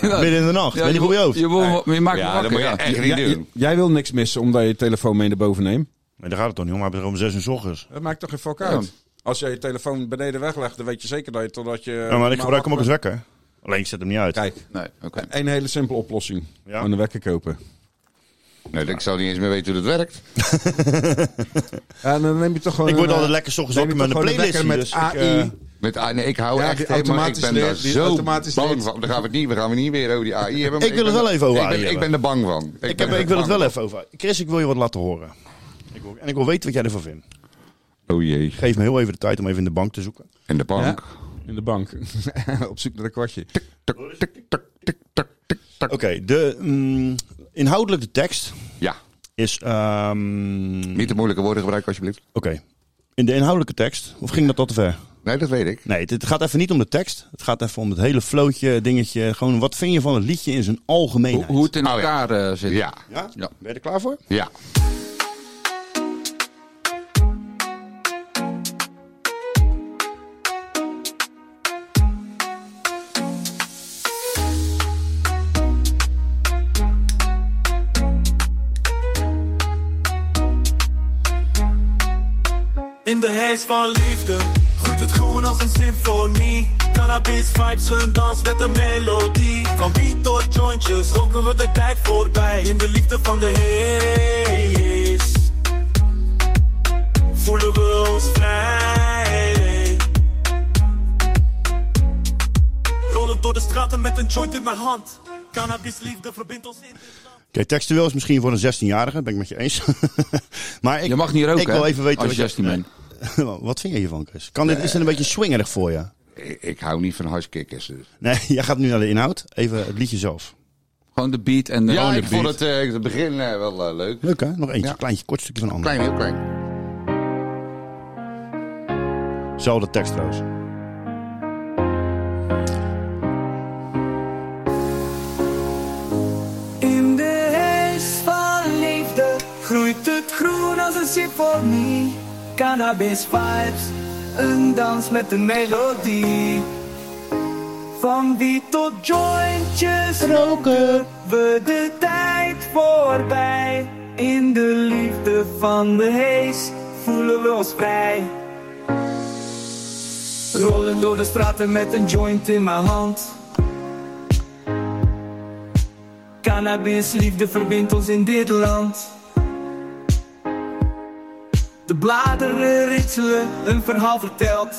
Speaker 9: Ja,
Speaker 2: Midden in de nacht.
Speaker 9: ja,
Speaker 2: ben je goed bij je hoofd.
Speaker 9: Je, wil- je maakt me
Speaker 6: Ja,
Speaker 9: wakker,
Speaker 6: dat moet je
Speaker 9: ja.
Speaker 6: echt
Speaker 8: Ja,
Speaker 6: niet
Speaker 8: j-
Speaker 6: doen.
Speaker 8: jij wil niks missen omdat je je telefoon mee naar boven neemt.
Speaker 2: Nee, daar gaat het toch niet om. Hij is er om zes uur 's ochtends.
Speaker 8: Dat maakt toch geen fuck
Speaker 9: Ja.
Speaker 8: uit? Als jij je telefoon beneden weglegt, dan weet je zeker dat je totdat je...
Speaker 2: Ja, maar ik gebruik hem ook als wekker. Alleen ik zet hem niet uit.
Speaker 8: Kijk,
Speaker 9: Nee, oké.
Speaker 8: één hele simpele oplossing.
Speaker 2: Ja.
Speaker 8: Gewoon een wekker kopen.
Speaker 6: Nee, ik zou niet eens meer weten hoe dat werkt.
Speaker 8: En dan neem je toch gewoon...
Speaker 2: Ik word
Speaker 8: een,
Speaker 2: altijd
Speaker 8: eh,
Speaker 2: lekker 's ochtends
Speaker 8: neem
Speaker 2: wakker
Speaker 8: je
Speaker 2: met een
Speaker 8: toch gewoon
Speaker 2: playlist.
Speaker 8: wekker
Speaker 2: dus
Speaker 8: met
Speaker 2: ik,
Speaker 8: AI.
Speaker 2: eh,
Speaker 6: Met, ah, nee, ik hou
Speaker 8: Ja,
Speaker 6: echt
Speaker 8: die
Speaker 6: helemaal-
Speaker 8: automatisch
Speaker 6: ik ben daar
Speaker 8: leert, die
Speaker 6: zo
Speaker 8: automatisch
Speaker 6: bang
Speaker 8: leert.
Speaker 6: van. Daar gaan we het niet, we gaan we niet weer over die AI hebben. maar
Speaker 2: Ik wil
Speaker 6: ben
Speaker 2: het wel
Speaker 6: er-
Speaker 2: even over
Speaker 6: ik ben,
Speaker 2: AI
Speaker 6: Ik ben er bang van.
Speaker 2: ik,
Speaker 6: ben
Speaker 2: heb,
Speaker 6: er
Speaker 2: ik wil het
Speaker 6: bang
Speaker 2: wel even over. Chris, ik wil je wat laten horen. Ik wil, en ik wil weten wat jij ervan vindt.
Speaker 6: van. Oh jee.
Speaker 2: Geef me heel even de tijd om even in de bank te zoeken.
Speaker 6: En de bank.
Speaker 8: In de bank. Op zoek naar een kwartje.
Speaker 6: Tik, tik, tik, tik, tik, tik, tik.
Speaker 2: Oké, de mm, inhoudelijk de tekst
Speaker 6: Ja,
Speaker 2: is... ehm,
Speaker 6: niet te moeilijke woorden gebruiken alsjeblieft.
Speaker 2: Oké, in de inhoudelijke tekst, of ging dat al te ver?
Speaker 6: Nee, dat weet ik.
Speaker 2: Nee, het- het gaat even niet om de tekst. Het gaat even om het hele flootje, dingetje. Gewoon, wat vind je van het liedje in zijn
Speaker 9: Hoe,
Speaker 2: algemeenheid?
Speaker 9: hoe het in
Speaker 6: Oh, ja.
Speaker 9: elkaar eh, zit.
Speaker 6: Ja,
Speaker 2: Ja?
Speaker 9: Ja.
Speaker 2: Ben je er klaar voor?
Speaker 6: ja.
Speaker 10: In de haze van liefde groeit het groen als een symfonie. Cannabis vibes, een dans met een melodie. Van wiet tot jointjes roken we de tijd voorbij. In de liefde van de haze voelen we ons vrij. Rollen door de straten met een joint in mijn hand. Cannabis liefde verbindt ons in. dit land.
Speaker 2: Oké, textueel is misschien voor een 16-jarige, dat ben ik met je eens. maar ik,
Speaker 9: Je mag niet roken,
Speaker 2: ik wil
Speaker 9: hè,
Speaker 2: even weten
Speaker 9: als
Speaker 2: wat
Speaker 9: je 16 bent.
Speaker 2: wat vind je hiervan, Chris? Kan dit, is dit een beetje swingerig voor je?
Speaker 6: Ik, ik hou niet van hashkickers. Dus.
Speaker 2: Nee, jij gaat nu naar de inhoud. Even het liedje zelf.
Speaker 9: Gewoon de beat en de...
Speaker 6: Ja,
Speaker 2: de
Speaker 6: ik vond
Speaker 2: beat.
Speaker 6: het eh, het begin eh, wel eh, leuk.
Speaker 2: Leuk hè? Nog eentje,
Speaker 6: Ja.
Speaker 2: kleintje, kort stukje van een ander.
Speaker 6: Klein, heel klein.
Speaker 2: Zelfde tekst trouwens.
Speaker 10: In de haze van liefde groeit het groen als een symfonie. Cannabis vibes, een dans met een melodie. Van wie tot jointjes roken we de tijd voorbij. In de liefde van de haze voelen we ons vrij. Rollen door de straten met een joint in mijn hand. Cannabis, liefde verbindt ons in dit land. De bladeren ritselen, een verhaal vertelt.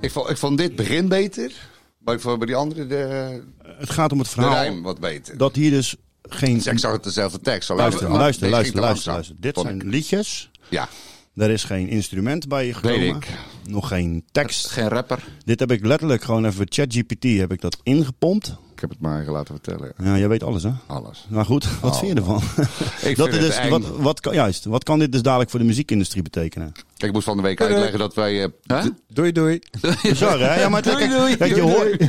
Speaker 6: Ik vond, ik vond dit begin beter. Maar ik vond bij die andere de,
Speaker 2: Het gaat om het
Speaker 6: Nou, de
Speaker 2: verhaal
Speaker 6: rijm wat beter.
Speaker 2: dat hier dus geen...
Speaker 6: Dus ik zag het dezelfde tekst. alleen-
Speaker 2: Luister,
Speaker 6: maar
Speaker 2: luister,
Speaker 6: oh, dit ging
Speaker 2: luister,
Speaker 6: te
Speaker 2: luister,
Speaker 6: langzaam,
Speaker 2: luister. Dit
Speaker 6: vond ik.
Speaker 2: zijn liedjes.
Speaker 6: Ja,
Speaker 2: Daar is geen instrument bij gekomen.
Speaker 6: Weet ik.
Speaker 2: Nog geen tekst.
Speaker 9: Geen rapper.
Speaker 2: Dit heb ik letterlijk gewoon even ChatGPT heb ik dat ingepompt.
Speaker 6: ik heb het maar laten vertellen.
Speaker 2: Ja, jij weet alles hè?
Speaker 6: Alles.
Speaker 2: Maar goed, wat
Speaker 6: Oh.
Speaker 2: vind je ervan?
Speaker 6: Ik
Speaker 2: dat
Speaker 6: vind
Speaker 2: is
Speaker 6: het eng.
Speaker 2: Wat, wat, kan, juist, wat kan dit dus dadelijk voor de muziekindustrie betekenen?
Speaker 6: Kijk, ik moest van de week uitleggen dat wij... eh,
Speaker 9: Huh?
Speaker 8: Doei, doei.
Speaker 2: Bizar, hè? Ja, maar kijk, kijk, kijk, je, hoort,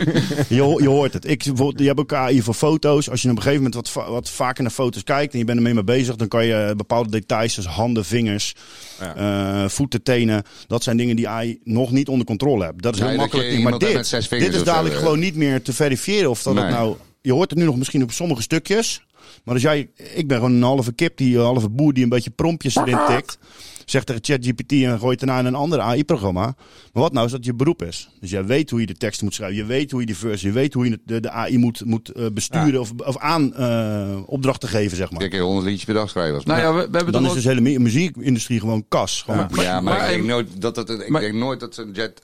Speaker 2: je, ho- je hoort het. Ik, bijvoorbeeld, je hebt ook AI voor foto's. Als je op een gegeven moment wat, va- wat vaker naar foto's kijkt en je bent ermee mee bezig, dan kan je eh, bepaalde details als handen, vingers, eh, voeten, tenen. Dat zijn dingen die AI nog niet onder controle hebt. Dat is
Speaker 6: Nee,
Speaker 2: heel
Speaker 6: dat je
Speaker 2: makkelijk. Maar
Speaker 6: iemand met
Speaker 2: dit,
Speaker 6: zes vingers
Speaker 2: dit is
Speaker 6: of zo,
Speaker 2: dadelijk
Speaker 6: eh.
Speaker 2: gewoon niet meer te verifiëren of dat het
Speaker 6: Nee.
Speaker 2: nou. Je hoort het nu nog misschien op sommige stukjes. Maar als jij, ik ben gewoon een halve kip, die een halve boer die een beetje prompjes erin tikt. Zegt tegen ChatGPT en gooit daarna in een ander AI-programma. Maar wat nou als dat je beroep is? Dus jij weet hoe je de tekst moet schrijven. Je weet hoe je die verse, je weet hoe je de, de AI moet, moet eh, besturen of, of aan eh, opdrachten geven, zeg maar.
Speaker 6: Ik heb 100 liedjes per dag schrijven. als
Speaker 9: Nou ja, we, we hebben toch
Speaker 2: Dan is
Speaker 9: ook-
Speaker 2: dus de hele mu- muziekindustrie gewoon kas. Gewoon
Speaker 9: Ja.
Speaker 6: Ja, maar,
Speaker 9: Maar,
Speaker 6: ik denk
Speaker 9: ehm,
Speaker 6: nooit dat het, ik
Speaker 9: maar-
Speaker 6: denk nooit dat zo'n jet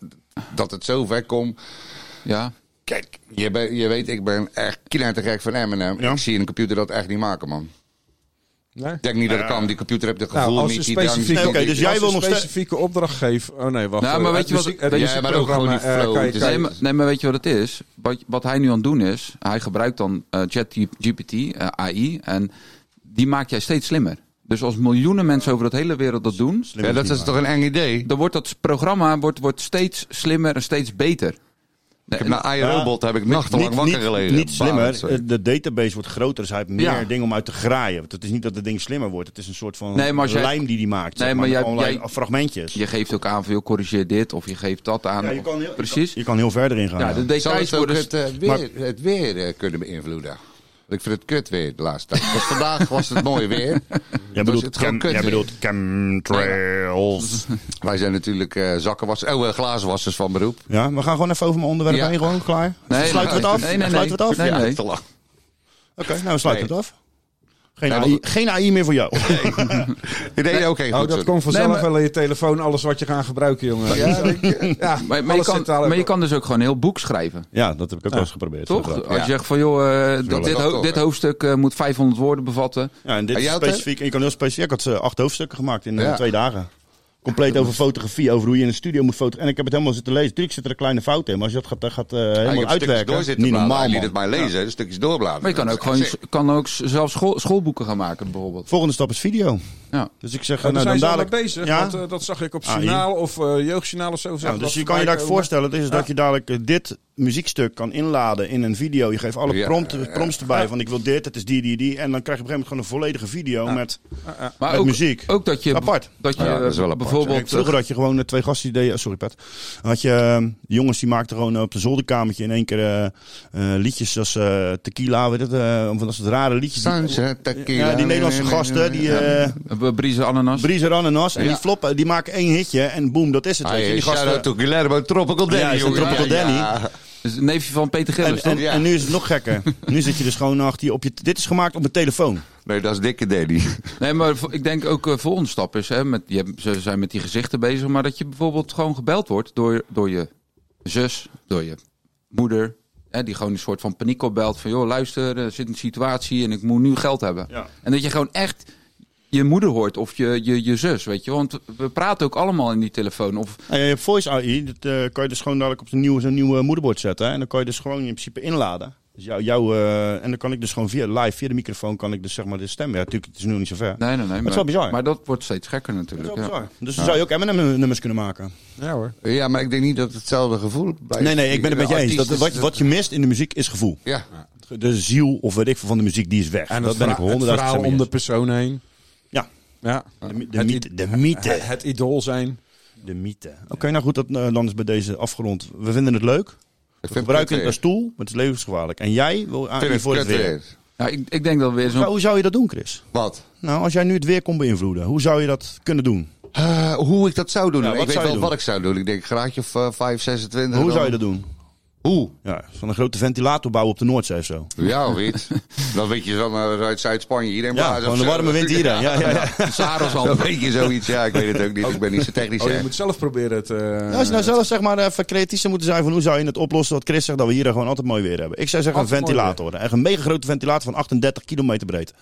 Speaker 6: dat het zo ver komt.
Speaker 9: Ja.
Speaker 6: Kijk, je, ben- je weet, ik ben echt knettergek van Eminem.
Speaker 2: Ja.
Speaker 6: Ik zie een computer dat echt niet maken, man.
Speaker 8: Nee?
Speaker 6: Ik denk niet dat het kan. Die computer heeft het gevoel
Speaker 8: Nou, als
Speaker 6: niet.
Speaker 8: een
Speaker 6: Die drank
Speaker 8: specifieke,
Speaker 6: niet,
Speaker 2: Oké,
Speaker 6: die-
Speaker 2: dus jij
Speaker 8: als
Speaker 2: wil
Speaker 8: een
Speaker 2: nog steeds-
Speaker 8: specifieke opdracht geeft... Oh nee, wacht.
Speaker 9: Nou,
Speaker 8: eh,
Speaker 9: maar weet
Speaker 8: het
Speaker 9: je wat-
Speaker 8: muziek-
Speaker 9: weet
Speaker 8: het
Speaker 9: je-
Speaker 6: Ja, maar ook gewoon die
Speaker 8: muziekprogramma, eh,
Speaker 6: flow,
Speaker 8: kan je-
Speaker 6: het is
Speaker 8: kan je-
Speaker 9: Nee maar, nee, maar weet je wat het is? Wat, wat hij nu aan het doen is, hij gebruikt dan eh, ChatGPT, eh, AI, en die maak jij steeds slimmer. Dus als miljoenen mensen over de hele wereld dat doen,
Speaker 6: Ja, dat is toch een eng idee?
Speaker 9: dan wordt dat programma wordt, wordt steeds slimmer en steeds beter.
Speaker 6: Ik heb na iRobot heb ik nachtenlang
Speaker 2: Niet-
Speaker 6: wakker
Speaker 2: niet-
Speaker 6: gelegen.
Speaker 2: Niet
Speaker 6: Barend,
Speaker 2: slimmer.
Speaker 6: sorry.
Speaker 2: Eh, De database wordt groter, dus hij heeft meer
Speaker 9: Ja.
Speaker 2: dingen om uit te graaien. Want het is niet dat het ding slimmer wordt. Het is een soort van
Speaker 9: Nee, maar als jij-
Speaker 2: lijm die die maakt.
Speaker 9: Nee,
Speaker 2: zeg maar,
Speaker 9: maar
Speaker 2: met
Speaker 9: jij-
Speaker 2: allerlei
Speaker 9: jij-
Speaker 2: fragmentjes.
Speaker 9: Je geeft ook aan van, joh, corrigeer dit of je geeft dat aan.
Speaker 2: Ja, je
Speaker 9: of-
Speaker 2: kan heel-
Speaker 9: precies.
Speaker 2: Je kan heel verder ingaan.
Speaker 9: Ja, de
Speaker 6: Zou
Speaker 9: details
Speaker 6: het ook
Speaker 9: worden...
Speaker 6: het, eh, weer, het weer eh, kunnen beïnvloeden? Want Ik vind het kut weer de laatste tijd. Want vandaag was het mooi weer.
Speaker 2: jij
Speaker 6: Dus
Speaker 2: bedoelt,
Speaker 6: het gewoon
Speaker 2: chem-
Speaker 6: kut
Speaker 2: jij
Speaker 6: weer.
Speaker 2: bedoelt chemtrails.
Speaker 6: Wij zijn natuurlijk eh zakkenwassers, oh, eh, glazenwassers van beroep.
Speaker 2: Ja, we gaan gewoon even over mijn onderwerp
Speaker 6: Ja.
Speaker 2: heen. Gewoon klaar.
Speaker 9: Nee,
Speaker 2: sluiten we
Speaker 9: nee,
Speaker 2: het af?
Speaker 9: nee, nee,
Speaker 2: sluiten we het af?
Speaker 9: nee.
Speaker 2: Ja.
Speaker 6: ja,
Speaker 9: nee.
Speaker 6: te lang.
Speaker 2: Oké, nou we sluiten
Speaker 6: Nee.
Speaker 2: het af. Geen,
Speaker 6: Nee,
Speaker 2: AI,
Speaker 6: maar-
Speaker 2: geen AI meer voor jou.
Speaker 6: Ik deed ook geen
Speaker 8: Oh,
Speaker 6: goed,
Speaker 8: dat
Speaker 6: sorry.
Speaker 8: komt vanzelf
Speaker 9: Nee, maar-
Speaker 8: wel in je telefoon, alles wat je gaat gebruiken, jongen. Ja, ja,
Speaker 9: Maar, maar, je
Speaker 8: alles
Speaker 9: kan,
Speaker 8: zit daar ook
Speaker 9: maar je
Speaker 8: op.
Speaker 9: kan dus ook gewoon een heel boek schrijven.
Speaker 2: ja, dat heb ik ook wel eens geprobeerd.
Speaker 9: Toch?
Speaker 2: inderdaad.
Speaker 9: Als je zegt van joh, eh, dit, dit,
Speaker 6: leuk.
Speaker 9: ho- dit hoofdstuk eh, moet 500 woorden bevatten.
Speaker 2: Ja, en dit
Speaker 6: En
Speaker 2: is
Speaker 6: jij had, hè?
Speaker 2: specifiek. en Je kan heel specifiek. Ik had eh, acht hoofdstukken gemaakt in eh,
Speaker 6: Ja.
Speaker 2: twee dagen. Compleet over fotografie, over hoe je in de studio moet fotograferen. En ik heb het helemaal zitten lezen. Natuurlijk zit er een kleine fout in, maar als je dat gaat, dan gaat eh,
Speaker 6: Ja, ik
Speaker 2: helemaal
Speaker 6: heb stukjes
Speaker 2: uitwerken.
Speaker 6: door zitten
Speaker 2: Niet
Speaker 6: bladeren.
Speaker 2: normaal,
Speaker 6: Hij liet
Speaker 2: man.
Speaker 6: het maar lezen, hè, de stukjes doorbladeren.
Speaker 9: Maar je kan ook gewoon kan ook z- zelfs school- schoolboeken gaan maken bijvoorbeeld.
Speaker 2: Volgende stap is video.
Speaker 9: Ja.
Speaker 2: Dus ik zeg,
Speaker 8: Ja,
Speaker 2: eh,
Speaker 8: daar zijn
Speaker 2: nou dan
Speaker 8: ze al mee
Speaker 2: dadelijk...
Speaker 8: bezig,
Speaker 2: Ja?
Speaker 8: want eh, dat zag ik op
Speaker 2: AI.
Speaker 8: journaal of eh, jeugdjournaal of zo. zag
Speaker 2: Ja,
Speaker 8: ik
Speaker 2: dus
Speaker 8: dat
Speaker 2: je kan je
Speaker 8: voorbij
Speaker 2: dadelijk
Speaker 8: komen.
Speaker 2: voorstellen, dus dat je dadelijk eh, dit muziekstuk kan inladen in een video. Je geeft alle
Speaker 6: Ja,
Speaker 2: prompt, eh,
Speaker 6: ja, ja.
Speaker 2: prompts erbij van ik wil dit, het is die, die, die. En dan krijg je op een gegeven moment gewoon een volledige video met...
Speaker 9: Maar
Speaker 2: Met
Speaker 9: ook,
Speaker 2: muziek.
Speaker 9: Ook dat je,
Speaker 2: Apart.
Speaker 9: Dat je
Speaker 6: Ja, dat is wel
Speaker 9: eh,
Speaker 6: apart.
Speaker 9: bijvoorbeeld...
Speaker 2: Kijk, vroeger had je gewoon eh, twee gasten die deden, sorry Pat, had je eh, jongens die maakten gewoon eh, op een zolderkamertje in één keer eh, eh, liedjes als eh, tequila, weet het, eh, of dat soort rare liedjes. Die, ja, die Nederlandse gasten, die eh
Speaker 9: eh, Briezen Ananas.
Speaker 2: Briezer Ananas, en
Speaker 6: Ja.
Speaker 2: die floppen, die maken één hitje en boom, dat is het. weet je.
Speaker 6: Hey,
Speaker 2: Die gasten,
Speaker 6: eh, shout-out to Guillermo Tropical Danny.
Speaker 2: Ja, is een
Speaker 6: jongen.
Speaker 2: Tropical Danny.
Speaker 9: Dus een neefje van Peter
Speaker 2: en,
Speaker 9: Gillis,
Speaker 2: en,
Speaker 9: toch?
Speaker 6: Ja.
Speaker 2: en nu is het nog gekker. nu zit je dus gewoon achter je, op je, dit is gemaakt op een telefoon.
Speaker 6: Nee, dat is dikke Danny.
Speaker 9: Nee, maar vo- ik denk ook eh volgende stap is... Hè, met, je, hebt- ze zijn met die gezichten bezig, maar dat je bijvoorbeeld gewoon gebeld wordt... door, door je zus, door je moeder... Hè, die gewoon een soort van paniek opbelt van... joh, luister, er zit een situatie en ik moet nu geld hebben.
Speaker 2: Ja.
Speaker 9: En dat je gewoon echt je moeder hoort of je, je, je zus, weet je. Want we praten ook allemaal in die telefoon. Of
Speaker 2: En Nou, je hebt Voice AI, dat eh, kan je dus gewoon dadelijk op zo'n nieuwe, zo'n nieuwe moederbord zetten. hè. En dan kan je dus gewoon in principe inladen. Dus jou, jou, eh, en dan kan ik dus gewoon via live, via de microfoon, kan ik dus zeg maar de stem. Ja, natuurlijk, het is nu nog niet zo ver.
Speaker 9: Nee, nee, nee. Maar,
Speaker 2: is wel bizar.
Speaker 9: Maar dat wordt steeds gekker
Speaker 2: Dat is
Speaker 9: natuurlijk.
Speaker 2: wel
Speaker 9: ja.
Speaker 2: bizar. Dus dan zou je ook Eminem-nummers kunnen maken.
Speaker 8: Ja hoor.
Speaker 6: Ja, maar ik denk niet dat het hetzelfde gevoel blijft.
Speaker 2: Nee, nee, ik ben het met je eens.
Speaker 6: Artiest
Speaker 2: Dat,
Speaker 6: is-
Speaker 2: wat, wat je mist in de muziek is gevoel.
Speaker 6: Ja,
Speaker 2: De ziel of weet ik veel van de muziek, die is weg.
Speaker 8: En
Speaker 2: dat
Speaker 8: het
Speaker 2: ben ik
Speaker 8: verhaal, het
Speaker 2: honderdduizend
Speaker 8: verhaal om de persoon heen.
Speaker 2: Ja,
Speaker 8: Ja.
Speaker 2: de, mi- de
Speaker 8: Het
Speaker 2: mythe. De mythe.
Speaker 8: Het, het idool zijn.
Speaker 2: De mythe. Oké, nou goed, dat, eh, dan is bij deze afgerond. We vinden het leuk.
Speaker 6: ik
Speaker 2: We
Speaker 6: vind het
Speaker 2: gebruiken het als
Speaker 6: kut weer.
Speaker 2: stoel, maar het is levensgevaarlijk. En jij wil
Speaker 6: Ik vind
Speaker 2: aan
Speaker 6: het
Speaker 2: voor het
Speaker 6: kut
Speaker 2: weer.
Speaker 6: weer.
Speaker 9: Nou, ik, ik denk dat we weer
Speaker 2: Nou,
Speaker 9: zo'n
Speaker 2: hoe zou je dat doen, Chris?
Speaker 6: Wat?
Speaker 2: Nou, als jij nu het weer kon beïnvloeden, hoe zou je dat kunnen doen?
Speaker 6: Eh, hoe ik dat zou doen?
Speaker 2: Ja,
Speaker 6: ik
Speaker 2: Nou, wat
Speaker 6: weet
Speaker 2: zou je
Speaker 6: wel
Speaker 2: doen?
Speaker 6: wat ik zou doen. Ik denk een graadje of eh, 5, 26.
Speaker 2: Hoe
Speaker 6: dan.
Speaker 2: zou je dat doen?
Speaker 6: Hoe?
Speaker 2: Ja, van een grote ventilator bouwen op de Noordzee of zo.
Speaker 6: Ja, weet. Dan weet je dan eh, uit Zuid-Spanje hierheen.
Speaker 2: Ja,
Speaker 6: blazen of
Speaker 2: gewoon de
Speaker 6: zo.
Speaker 2: warme wind hierheen. Ja, ja, ja.
Speaker 9: Sarasland.
Speaker 6: Dan weet je zoiets. Ja, ik weet het ook niet. Ik ben niet zo technisch.
Speaker 8: Oh,
Speaker 6: hè.
Speaker 8: je moet zelf proberen het... eh,
Speaker 2: Ja, als je nou zelf zeg maar even creatief zou moeten zijn van hoe zou je het oplossen wat Chris zegt dat we hier gewoon altijd mooi weer hebben. Ik zou zeggen een
Speaker 8: Altijd mooi
Speaker 2: ventilator. Echt een mega grote ventilator van 38 kilometer breed.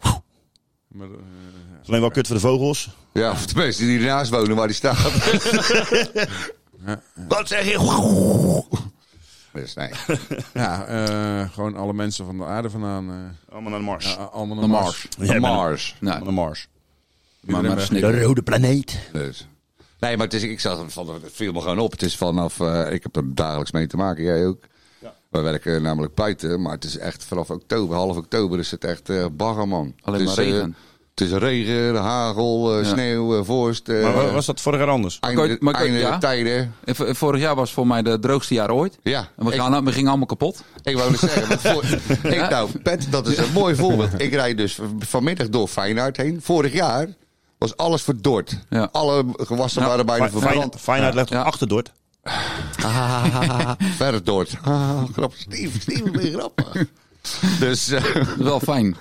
Speaker 8: maar, eh,
Speaker 2: Is alleen wel kut voor de vogels.
Speaker 6: Ja, of de mensen die ernaast wonen waar die staat. Wat zeg je? Dus nee.
Speaker 8: ja, eh, gewoon alle mensen van de aarde vandaan. eh,
Speaker 2: Allemaal naar de Mars.
Speaker 8: ja, allemaal
Speaker 9: De
Speaker 8: naar
Speaker 9: Mars.
Speaker 2: Jij bent-
Speaker 6: Mars.
Speaker 9: Nou,
Speaker 2: Naar de Mars.
Speaker 9: maar maar
Speaker 8: weg.
Speaker 9: snikken.
Speaker 2: rode planeet.
Speaker 6: Dus. Nee, maar het is, ik zag het van, het viel me gewoon op. Het is vanaf, eh, ik heb er dagelijks mee te maken, jij ook. Wij werken namelijk buiten, maar het is echt vanaf oktober, half oktober is het echt eh bagger, man.
Speaker 9: Alleen
Speaker 6: het
Speaker 9: maar
Speaker 6: is, eh,
Speaker 9: regen.
Speaker 6: het is regen, hagel, eh,
Speaker 9: Ja.
Speaker 6: sneeuw, eh, vorst. eh,
Speaker 2: Maar wa- was dat vorig jaar anders?
Speaker 9: Maar
Speaker 6: Einde,
Speaker 9: kort- maar kort,
Speaker 6: einde
Speaker 9: ja.
Speaker 6: tijden.
Speaker 9: En v- Vorig jaar was voor mij de droogste jaar ooit.
Speaker 6: Ja,
Speaker 9: En we,
Speaker 6: ik-
Speaker 9: gaan, we gingen allemaal kapot.
Speaker 6: Ik wou het zeggen, want voor- ik, nou, Pet, dat is een mooi voorbeeld. Ik rijd dus vanmiddag door Feyenoord heen. Vorig jaar was alles verdord.
Speaker 9: Ja. Nou,
Speaker 6: Alle gewassen
Speaker 9: Ja.
Speaker 6: waren bijna
Speaker 2: Fijn-
Speaker 6: verbrand.
Speaker 2: Feyenoord legt
Speaker 9: Ja.
Speaker 2: achterdort.
Speaker 6: Verdord. Ah, grappig. Steven, Steven, ben je grappig. Dus, eh,
Speaker 9: Wel fijn.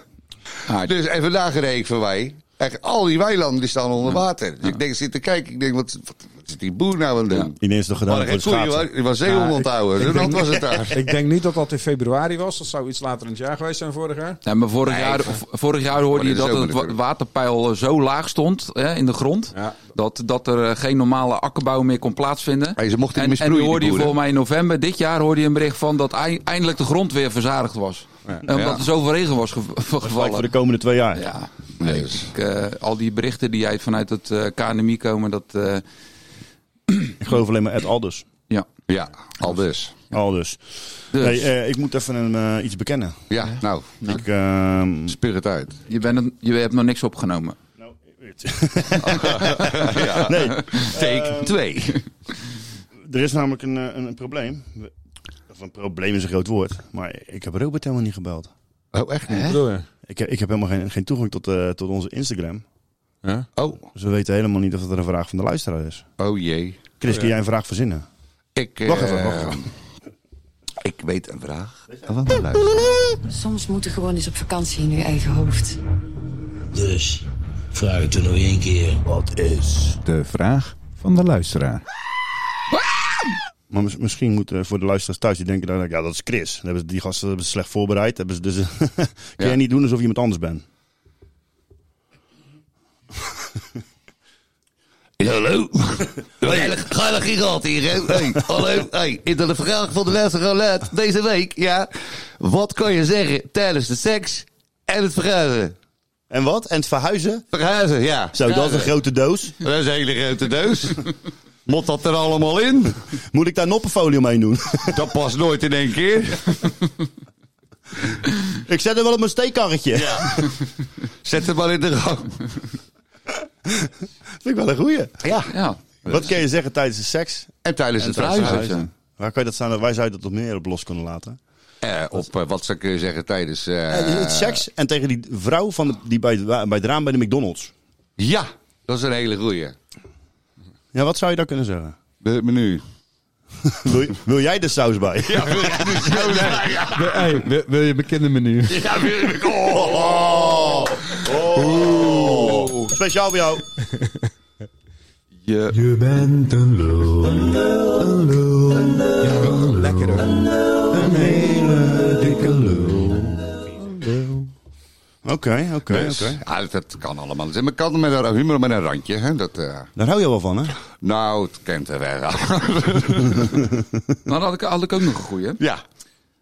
Speaker 9: Aard.
Speaker 6: dus en vandaag reed ik voorbij. Echt, al die weilanden die staan onder water. Dus ik denk, zit te kijken. Ik denk, wat, wat is die boer nou aan het doen?
Speaker 2: Die is toch gedaan
Speaker 6: Maar
Speaker 2: voor
Speaker 6: geen
Speaker 2: de
Speaker 6: koeien,
Speaker 2: schaatsen.
Speaker 6: Oh, hoor. Die was zeehond onthouden. Zo nat was het daar.
Speaker 8: Ik denk niet dat dat in februari was. Dat zou iets later in het jaar geweest zijn vorig jaar.
Speaker 9: Ja, maar vorig,
Speaker 6: Nee,
Speaker 9: jaar,
Speaker 6: van-
Speaker 9: v- vorig jaar hoorde je
Speaker 6: Maar dit is
Speaker 9: dat
Speaker 6: ook
Speaker 9: het wa-
Speaker 6: natuurlijk.
Speaker 9: waterpeil eh, zo laag stond hè, in de grond.
Speaker 8: Ja.
Speaker 9: Dat, dat er eh, geen normale akkerbouw meer kon plaatsvinden.
Speaker 6: Hey, ze mochten niet
Speaker 9: en,
Speaker 6: meer
Speaker 9: en nu
Speaker 6: sproeien,
Speaker 9: hoorde
Speaker 6: die
Speaker 9: je
Speaker 6: boeren.
Speaker 9: volgens mij in november dit jaar hoorde je een bericht van dat ei- eindelijk de grond weer verzadigd was.
Speaker 8: Ja.
Speaker 9: Eh, Omdat
Speaker 6: Ja.
Speaker 9: er zoveel regen was gev-
Speaker 2: Gelijk voor de
Speaker 9: gevallen.
Speaker 2: komende twee jaar.
Speaker 9: Ja,
Speaker 6: Nee, dus-
Speaker 9: ik, eh, al die berichten die uit vanuit het eh, KNMI komen, dat eh,
Speaker 2: Ik geloof alleen maar Ed Aldus.
Speaker 9: ja.
Speaker 6: Ja, al dus.
Speaker 2: Aldus.
Speaker 9: Dus
Speaker 2: Nee, eh, ik moet even een, eh, iets bekennen.
Speaker 6: Ja, nou,
Speaker 2: Ik, ehm, nou,
Speaker 6: spuug het uit.
Speaker 9: je, bent, een- je hebt nog niks opgenomen.
Speaker 6: Ja.
Speaker 2: nee,
Speaker 6: Take 2.
Speaker 2: er is namelijk een, eh, een, een probleem. We- Of een probleem is een groot woord. Maar ik heb Robert helemaal niet gebeld.
Speaker 6: Oh, echt
Speaker 8: Wat
Speaker 6: niet?
Speaker 8: bedoel je?
Speaker 2: Ik, heb- ik heb helemaal geen, geen toegang tot, eh, tot onze Instagram.
Speaker 8: Ja?
Speaker 6: Oh,
Speaker 2: Dus we weten helemaal niet of dat er een vraag van de luisteraar is.
Speaker 6: oh jee.
Speaker 2: Chris, kun jij een vraag verzinnen?
Speaker 6: Ik,
Speaker 2: Wacht even,
Speaker 6: eh,
Speaker 2: wacht even.
Speaker 6: Ik weet een vraag van de luisteraar.
Speaker 11: Soms moeten gewoon eens op vakantie in je eigen hoofd.
Speaker 3: Dus, vraag het er nog één keer. Wat is?
Speaker 12: De vraag van de luisteraar.
Speaker 2: Maar mis- misschien moeten voor de luisteraars thuis die denken dan, ja, dat is Chris. Dan hebben ze, die gasten hebben ze slecht voorbereid. Hebben ze dus, kun
Speaker 6: Ja.
Speaker 2: jij niet doen alsof je iemand anders bent?
Speaker 6: Hallo? Geile gigant hier, hè? Hey, hallo? Hey, in de vraag van de luisteraar laat deze week, ja. Wat kan je zeggen tijdens de seks en het verhuizen?
Speaker 2: En wat? En het verhuizen?
Speaker 6: Verhuizen, ja.
Speaker 2: Zo, dat is een
Speaker 6: Verhuizen.
Speaker 2: grote doos.
Speaker 6: Dat is een hele grote doos. Moet dat er allemaal in?
Speaker 2: Moet ik daar noppenfolie omheen doen?
Speaker 6: Dat past nooit in één keer.
Speaker 2: ik zet hem wel op mijn steekkarretje.
Speaker 6: Ja. Zet het maar in de gang.
Speaker 2: Vind ik wel een goeie.
Speaker 6: Ja.
Speaker 9: Ja,
Speaker 2: Wat kun je zeggen tijdens de seks?
Speaker 6: En tijdens het verhuizen.
Speaker 2: Waar kan je dat staan? dat Wij zouden dat op meer op los kunnen laten.
Speaker 6: Eh, op eh, wat zou ik eh, zeggen tijdens. eh,
Speaker 2: En het seks en tegen die vrouw van de- die bij, het wa- bij het raam bij de McDonald's.
Speaker 6: Ja, dat is een hele goeie.
Speaker 2: Ja, wat zou je daar kunnen zeggen?
Speaker 6: Het menu.
Speaker 2: Wil, je- wil jij de saus bij?
Speaker 6: Ja, wil je de show zeggen?
Speaker 12: Hey, wil, wil je bekende menu?
Speaker 6: Ja, wil je de- Oh!
Speaker 2: Speciaal voor jou.
Speaker 9: je,
Speaker 12: Je bent een lul. Een lul.
Speaker 8: Lekker hoor.
Speaker 12: Een hele dikke lul.
Speaker 2: Oké, oké,
Speaker 6: Dus,
Speaker 2: oké.
Speaker 6: ja, dat- dat kan allemaal. Maar ik kan het met een humor met een randje. Hè? Dat, eh,
Speaker 2: Daar hou je wel van, hè?
Speaker 6: nou, het kent er wel.
Speaker 9: nou, dan had ik, had ik ook nog een goeie.
Speaker 6: ja.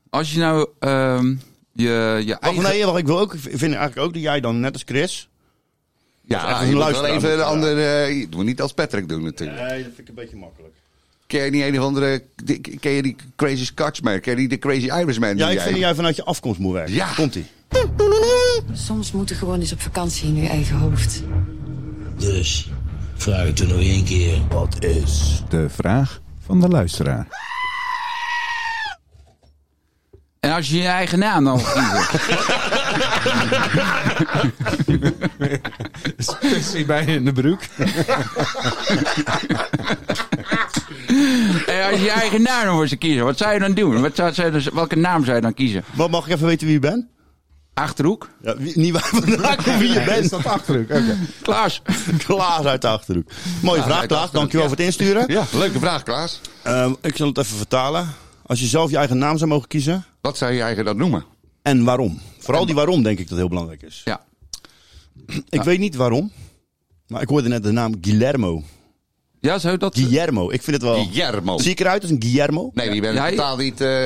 Speaker 9: Als je nou ehm, je, je
Speaker 2: Wacht,
Speaker 9: eigen...
Speaker 2: nee, wacht, ik, wil ook, ik vind eigenlijk ook dat jij dan, net als Chris...
Speaker 6: Ja,
Speaker 2: echt een
Speaker 6: je moet wel
Speaker 2: luisteraar
Speaker 6: even een
Speaker 2: moeten
Speaker 6: andere... eh, je moet niet als Patrick doen natuurlijk.
Speaker 2: Nee, dat vind ik een beetje makkelijk.
Speaker 6: Ken je niet een of andere... die- Ken je die Crazy Scotsman? Ken je die de Crazy Irishman?
Speaker 2: Ja,
Speaker 6: die
Speaker 2: ik vind dat jij vanuit je afkomst moet werken.
Speaker 6: Ja.
Speaker 2: Komt-ie.
Speaker 11: Soms moeten gewoon eens op vakantie in je eigen hoofd.
Speaker 3: Dus, vraag het er nog één keer. Wat is?
Speaker 12: De vraag van de luisteraar.
Speaker 9: En En als je je eigen naam nou dan kiezen.
Speaker 8: Zie bij in de broek.
Speaker 9: en als je je eigen naam dan voor ze kiezen, wat zou je dan doen? Wat zou, zou je dus- welke naam zou je dan kiezen?
Speaker 2: Wat mag ik even weten wie je bent?
Speaker 9: Achterhoek.
Speaker 2: Ja, wie- niet waar vandaan komt wie je
Speaker 9: Nee,
Speaker 2: bent.
Speaker 9: is dat
Speaker 2: Achterhoek?
Speaker 9: Klaas.
Speaker 2: Klaas uit de Achterhoek. Mooie
Speaker 6: Ja,
Speaker 2: vraag,
Speaker 6: uit
Speaker 2: Klaas.
Speaker 6: Achterhoek,
Speaker 2: Dankjewel
Speaker 6: ja.
Speaker 2: voor het insturen.
Speaker 6: Ja, leuke vraag, Klaas.
Speaker 2: Ehm, ik zal het even vertalen. Als je zelf je eigen naam zou mogen kiezen.
Speaker 6: Wat zou je eigen dan noemen?
Speaker 2: En waarom? Vooral die waarom denk ik dat heel belangrijk is.
Speaker 9: Ja.
Speaker 2: Ik weet niet waarom. Maar ik hoorde net de naam Guillermo.
Speaker 9: Ja, zou dat...
Speaker 2: Guillermo. Ik vind het wel...
Speaker 6: Guillermo.
Speaker 2: Oh. Zie ik eruit als een Guillermo?
Speaker 6: Nee, die bent
Speaker 9: Ja, je-
Speaker 6: totaal niet eh,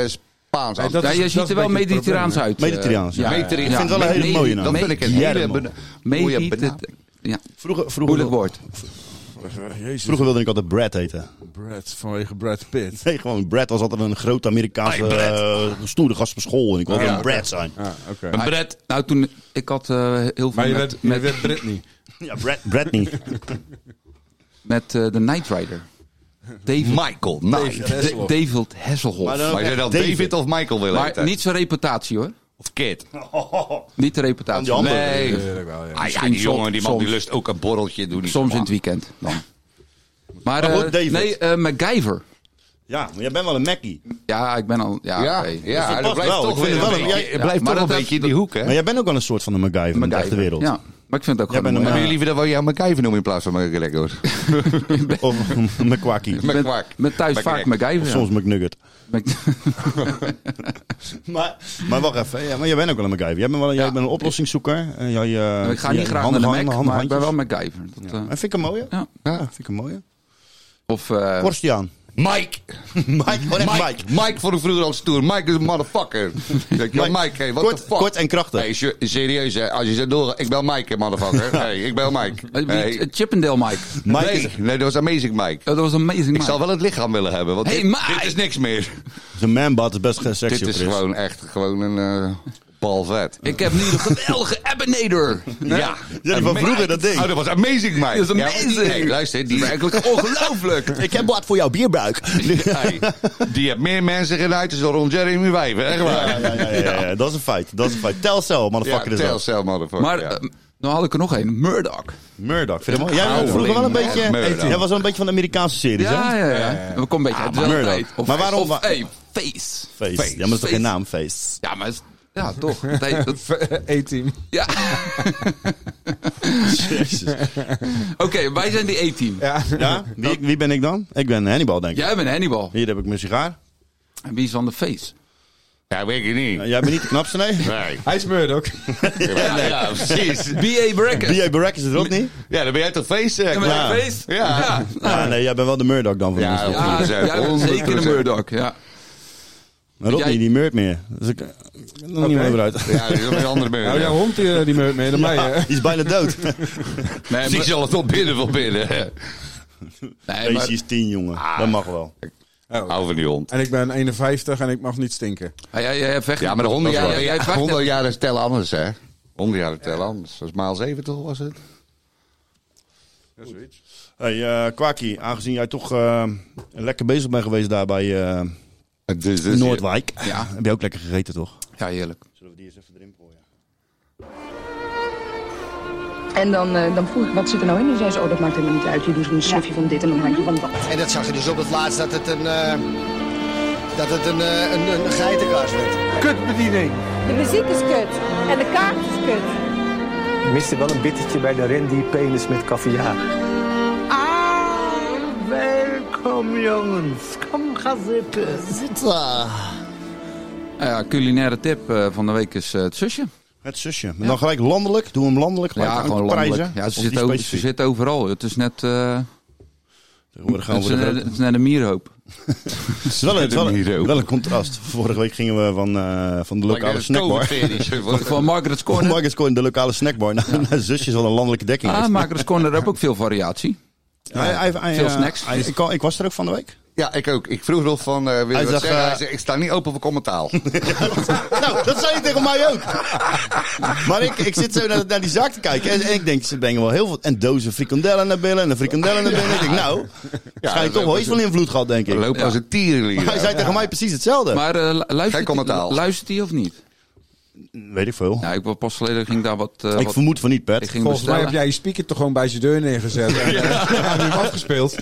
Speaker 6: Spaans.
Speaker 9: Nee, dat is- Ja, je dat ziet is er wel een beetje het mediterraans probleem, hè? uit, eh.
Speaker 2: Mediterraans.
Speaker 9: Ja,
Speaker 2: Ik
Speaker 9: Mediterraans.
Speaker 2: vind het wel een
Speaker 9: Ja,
Speaker 2: hele
Speaker 9: me-
Speaker 2: mooie naam.
Speaker 6: Dat vind ik een hele
Speaker 2: Guillermo.
Speaker 6: bena-
Speaker 9: Medit-
Speaker 6: mooie bena-
Speaker 9: Ja.
Speaker 2: Vroeger, vroeger,
Speaker 9: Moeilijk woord.
Speaker 8: Jezus.
Speaker 2: vroeger wilde ik altijd Brad heten.
Speaker 8: Brad, vanwege Brad Pitt.
Speaker 2: Nee, gewoon Brad was altijd een groot Amerikaanse
Speaker 6: Hey, Brad.
Speaker 2: eh, stoere gast op school. En ik wilde
Speaker 8: Ja,
Speaker 2: een
Speaker 8: oké.
Speaker 2: Brad zijn.
Speaker 8: Ah, oké.
Speaker 6: Een Brett.
Speaker 9: Nou, toen... Ik had eh, heel veel
Speaker 8: Maar je
Speaker 9: met,
Speaker 8: werd, je
Speaker 9: met,
Speaker 8: werd Britney.
Speaker 2: Ja, Brad, Brad niet.
Speaker 9: met eh, de Night Rider. David,
Speaker 6: Michael, nou.
Speaker 8: David Hasselhoff.
Speaker 9: Da- David Hasselhoff.
Speaker 2: Maar dan ook
Speaker 6: Maar je
Speaker 2: echt
Speaker 6: dan David of Michael willen
Speaker 9: Maar
Speaker 6: heten?
Speaker 9: niet zijn reputatie hoor.
Speaker 6: Of Kid?
Speaker 9: Niet de
Speaker 2: Aan die
Speaker 9: reputatie.
Speaker 2: handen.
Speaker 6: Nee.
Speaker 8: Tuurlijk wel, ja.
Speaker 6: Ah, ja,
Speaker 9: Misschien
Speaker 6: die jongen, die man, die
Speaker 9: soms.
Speaker 6: lust ook een borreltje. Doe niet
Speaker 9: Soms in
Speaker 6: normaal.
Speaker 9: het weekend dan. Maar,
Speaker 2: Maar
Speaker 9: eh,
Speaker 2: goed, David.
Speaker 9: nee, eh, MacGyver.
Speaker 2: Ja, maar jij bent wel een Mackie.
Speaker 9: Ja, ik ben al. Ja,
Speaker 6: Ja,
Speaker 9: oké.
Speaker 2: dat
Speaker 6: ja dat
Speaker 2: past
Speaker 6: blijft
Speaker 2: wel.
Speaker 6: toch
Speaker 2: Ik vind
Speaker 6: weer
Speaker 2: het
Speaker 6: een
Speaker 2: wel een-
Speaker 6: beetje,
Speaker 2: ja,
Speaker 6: het blijft
Speaker 9: maar
Speaker 6: toch
Speaker 9: dat
Speaker 6: een
Speaker 9: heeft-
Speaker 6: beetje in die hoek, hè?
Speaker 2: Maar jij bent ook wel een soort van een MacGyver in de
Speaker 9: MacGyver.
Speaker 2: echte wereld.
Speaker 9: Ja, maar ik vind het ook gewoon.
Speaker 2: Jij
Speaker 9: eh, een
Speaker 2: bent een
Speaker 9: mooie-
Speaker 6: Hebben jullie liever dat wel jou MacGyver noemen in plaats van McGregor?
Speaker 2: Of een McQuackie.
Speaker 9: Ik ben-
Speaker 6: McQuack.
Speaker 9: ben thuis
Speaker 6: McQuack.
Speaker 9: vaak MacGyver.
Speaker 2: Of
Speaker 9: ja.
Speaker 2: soms McNugget.
Speaker 9: Mac-
Speaker 2: Maar, maar wacht even. Ja, maar jij bent ook wel een MacGyver. Jij bent, wel, jij bent een oplossingszoeker. En jij, eh,
Speaker 9: Nou, ik ga
Speaker 2: jij-
Speaker 9: niet graag naar
Speaker 2: handige
Speaker 9: de Mac,
Speaker 2: handen-
Speaker 9: maar
Speaker 2: handige
Speaker 9: ik ben wel
Speaker 2: handjes.
Speaker 9: MacGyver. Dat, eh,
Speaker 2: En vind ik een mooie?
Speaker 9: ja.
Speaker 2: Ja, vind ik een mooie.
Speaker 9: Of eh,
Speaker 2: Korstiaan.
Speaker 6: Mike!
Speaker 2: Mike, oh, echt
Speaker 6: Mike,
Speaker 2: Mike.
Speaker 6: Mike vond ik vroeger al stoer. Mike is een motherfucker. Ik denk, ja,
Speaker 2: Mike.
Speaker 6: Mike, hey, what
Speaker 2: Kort-
Speaker 6: the fuck?
Speaker 2: kort en krachtig.
Speaker 6: Hey, se- serieus, hè, als je zegt, door, ik bel Mike, hè, motherfucker. hey, ik bel Mike.
Speaker 9: eh,
Speaker 6: Hey.
Speaker 9: die- eh, Chippendale Mike.
Speaker 2: Mike
Speaker 6: nee,
Speaker 2: is-
Speaker 6: nee, dat was Amazing Mike.
Speaker 9: Oh, dat was amazing.
Speaker 6: Ik
Speaker 9: Mike.
Speaker 6: zou wel het lichaam willen hebben, want
Speaker 9: Hey,
Speaker 6: dit,
Speaker 9: Mike!
Speaker 6: dit is niks meer.
Speaker 2: Zijn manbad is best geen sexy
Speaker 6: Dit is
Speaker 2: op Chris.
Speaker 6: gewoon echt gewoon een eh, bal vet.
Speaker 9: Ik heb nu de geweldige Ebenator.
Speaker 6: Ja.
Speaker 2: Ja, die van vroeger, dat ding.
Speaker 6: Oh, dat was Amazing Mike.
Speaker 9: Dat is
Speaker 6: Ja,
Speaker 9: amazing.
Speaker 6: die- nee, luister, die
Speaker 9: Eigenlijk ongelooflijk.
Speaker 2: Ik heb wat voor jouw bierbuik.
Speaker 6: Hey, die heeft meer mensen genaaid dan Ron Jeremy Wijven, echt waar.
Speaker 2: Ja, ja, ja, ja, ja, ja, dat is een feit. Dat is een feit. Telcel,
Speaker 6: Ja,
Speaker 2: motherfucker. is dat.
Speaker 6: Telcel, motherfucker.
Speaker 9: Maar
Speaker 6: ja.
Speaker 9: eh, dan had ik er nog één. Murdoch.
Speaker 2: Murdoch. Vind je dat mooi? Jij was
Speaker 6: Howling
Speaker 2: vroeger wel een beetje...
Speaker 6: Murdoch.
Speaker 2: Jij was wel een beetje van de Amerikaanse series,
Speaker 9: Ja,
Speaker 2: hè?
Speaker 9: ja, ja. We komen een beetje uit
Speaker 2: maar-
Speaker 9: dezelfde
Speaker 2: Murdoch.
Speaker 9: tijd. Of-
Speaker 2: Maar waarom-
Speaker 9: Of, hey, Face.
Speaker 2: Feest. Ja, maar dat is toch geen
Speaker 9: Face.
Speaker 2: naam, feest.
Speaker 9: Ja, maar... het is- Ja, toch. Dat heet- dat-
Speaker 8: E-team.
Speaker 9: ja.
Speaker 2: Jezus.
Speaker 9: Oké, wij zijn die A-team.
Speaker 8: Ja.
Speaker 2: Ja? Wie, wie ben ik dan? Ik ben Hannibal, denk ik.
Speaker 9: Jij bent Hannibal.
Speaker 2: Hier heb ik mijn sigaar.
Speaker 9: En wie is dan de face?
Speaker 6: Ja, weet ik niet.
Speaker 2: Ja, Nou, Jij bent niet de knapste, nee?
Speaker 6: Nee.
Speaker 8: Hij is Murdoch.
Speaker 6: Ja, ja, precies.
Speaker 9: B.A. Bracken.
Speaker 2: B.A. Barrack is er ook niet?
Speaker 6: Ja, dan ben jij toch feest, zeg.
Speaker 9: Ja, maar
Speaker 2: Ja.
Speaker 9: de face?
Speaker 6: Ja.
Speaker 9: Ja,
Speaker 2: Ja, Ah, nee, jij bent wel de Murdoch dan van
Speaker 6: Ja,
Speaker 2: ons.
Speaker 6: ja.
Speaker 9: ja, jij bent
Speaker 6: 100%.
Speaker 9: zeker een Murdoch. Ja.
Speaker 2: Maar Rodney,
Speaker 9: Jij-
Speaker 2: die meurt meer. Dus ik... ik ben nog niet
Speaker 8: Oké.
Speaker 2: meer vooruit.
Speaker 6: Ja, dat is een andere
Speaker 2: Oh,
Speaker 6: beurt.
Speaker 8: Nou, jouw hond die, die meurt mee dan mij, hè?
Speaker 2: Die is bijna dood.
Speaker 9: Nee,
Speaker 6: Die
Speaker 9: maar,
Speaker 6: zal het wel binnen van binnen.
Speaker 9: nee,
Speaker 2: Deze
Speaker 9: maar,
Speaker 2: is tien, jongen. Dat mag wel.
Speaker 6: Hou van die hond.
Speaker 8: En ik ben 51 en ik mag niet stinken.
Speaker 9: Ah, jij, jij vecht.
Speaker 6: Ja, maar de honderd
Speaker 9: Ja,
Speaker 6: jaren,
Speaker 9: jij- jij vecht-
Speaker 6: honderd jaren tellen anders, hè? Honderd jaren tellen anders. Dat is maal 70 was het.
Speaker 2: Hey, eh Kwaki, aangezien jij toch eh, lekker bezig bent geweest daar bij eh,
Speaker 6: Het is- het is-
Speaker 2: Noordwijk.
Speaker 9: Ja.
Speaker 2: Heb je ook lekker gegeten, toch?
Speaker 9: Ja, heerlijk.
Speaker 2: Zullen we die eens even erin gooien?
Speaker 13: En dan, eh, dan vroeg ik, wat zit er nou in? En zei ze, oh, dat maakt helemaal niet uit. Je doet een snufje van dit en een handje van dat.
Speaker 14: En dat zag je dus op het laatst dat het een, eh, dat het een, eh, een, een geitenkaas werd.
Speaker 15: Kutbediening.
Speaker 16: De muziek is kut en de kaart is kut.
Speaker 17: Ik miste wel een bittertje bij de Randy Penis met caviar.
Speaker 15: Ah, welkom jongens. Kom, ga zitten. Zitten.
Speaker 9: Nou ja, culinaire tip eh, van de week is eh, het zusje.
Speaker 2: Het zusje. Maar dan gelijk landelijk. Doe hem landelijk. Gelijk
Speaker 9: Ja,
Speaker 2: aan
Speaker 9: gewoon
Speaker 2: de
Speaker 9: landelijk.
Speaker 2: prijzen.
Speaker 9: Ja, ze
Speaker 2: Of
Speaker 9: zit,
Speaker 2: die
Speaker 9: over, ze
Speaker 2: specifiek.
Speaker 9: zit overal. Het is net... eh,
Speaker 2: Tegenwoordig gaan
Speaker 9: het,
Speaker 2: we
Speaker 9: is
Speaker 2: voor de
Speaker 9: net,
Speaker 2: grote.
Speaker 9: het is net een mierhoop.
Speaker 2: Het is wel een, het is wel een- wel een contrast. Vorige week gingen we van, eh, van de lokale snackbar.
Speaker 9: Van Margaret's Corner.
Speaker 2: Marcus Cohen, de lokale snackbar. Naar, naar zusjes van een landelijke dekking.
Speaker 9: Ah,
Speaker 2: is.
Speaker 9: Margaret's Corner heeft ook veel variatie.
Speaker 2: Hij- hij- hij-
Speaker 9: Veel
Speaker 2: eh,
Speaker 9: snacks.
Speaker 2: hij- ik, kan- ik was er ook van de week.
Speaker 6: Ja, ik ook. Ik vroeg Rolf van, eh wil je
Speaker 2: Hij
Speaker 6: wat
Speaker 2: zag,
Speaker 6: zeggen?
Speaker 2: eh,
Speaker 6: Hij zei, ik sta niet open voor commentaar.
Speaker 2: Nou, dat zei je tegen mij ook. Maar ik, ik zit zo naar, naar die zaak te kijken. En, en ik denk, ze brengen wel heel veel. En dozen frikandellen naar binnen. En een frikandellen naar binnen. Ik denk, nou, waarschijnlijk toch wel iets van invloed gehad, denk ik.
Speaker 6: Lopen als een tierenlier.
Speaker 2: Maar hij zei tegen mij precies hetzelfde.
Speaker 9: Maar eh, lu- luistert,
Speaker 6: Geen commentaar.
Speaker 9: Die, luistert die of niet?
Speaker 2: Weet ik veel.
Speaker 9: Ja, ik was pas geleden ging daar wat... eh,
Speaker 2: ik
Speaker 9: wat-
Speaker 2: vermoed van niet,
Speaker 9: Ik
Speaker 2: Pet.
Speaker 9: ging
Speaker 8: Volgens mij heb
Speaker 9: bestellen.
Speaker 8: jij je speaker toch gewoon bij zijn deur neergezet. En, eh, ja, nu afgespeeld.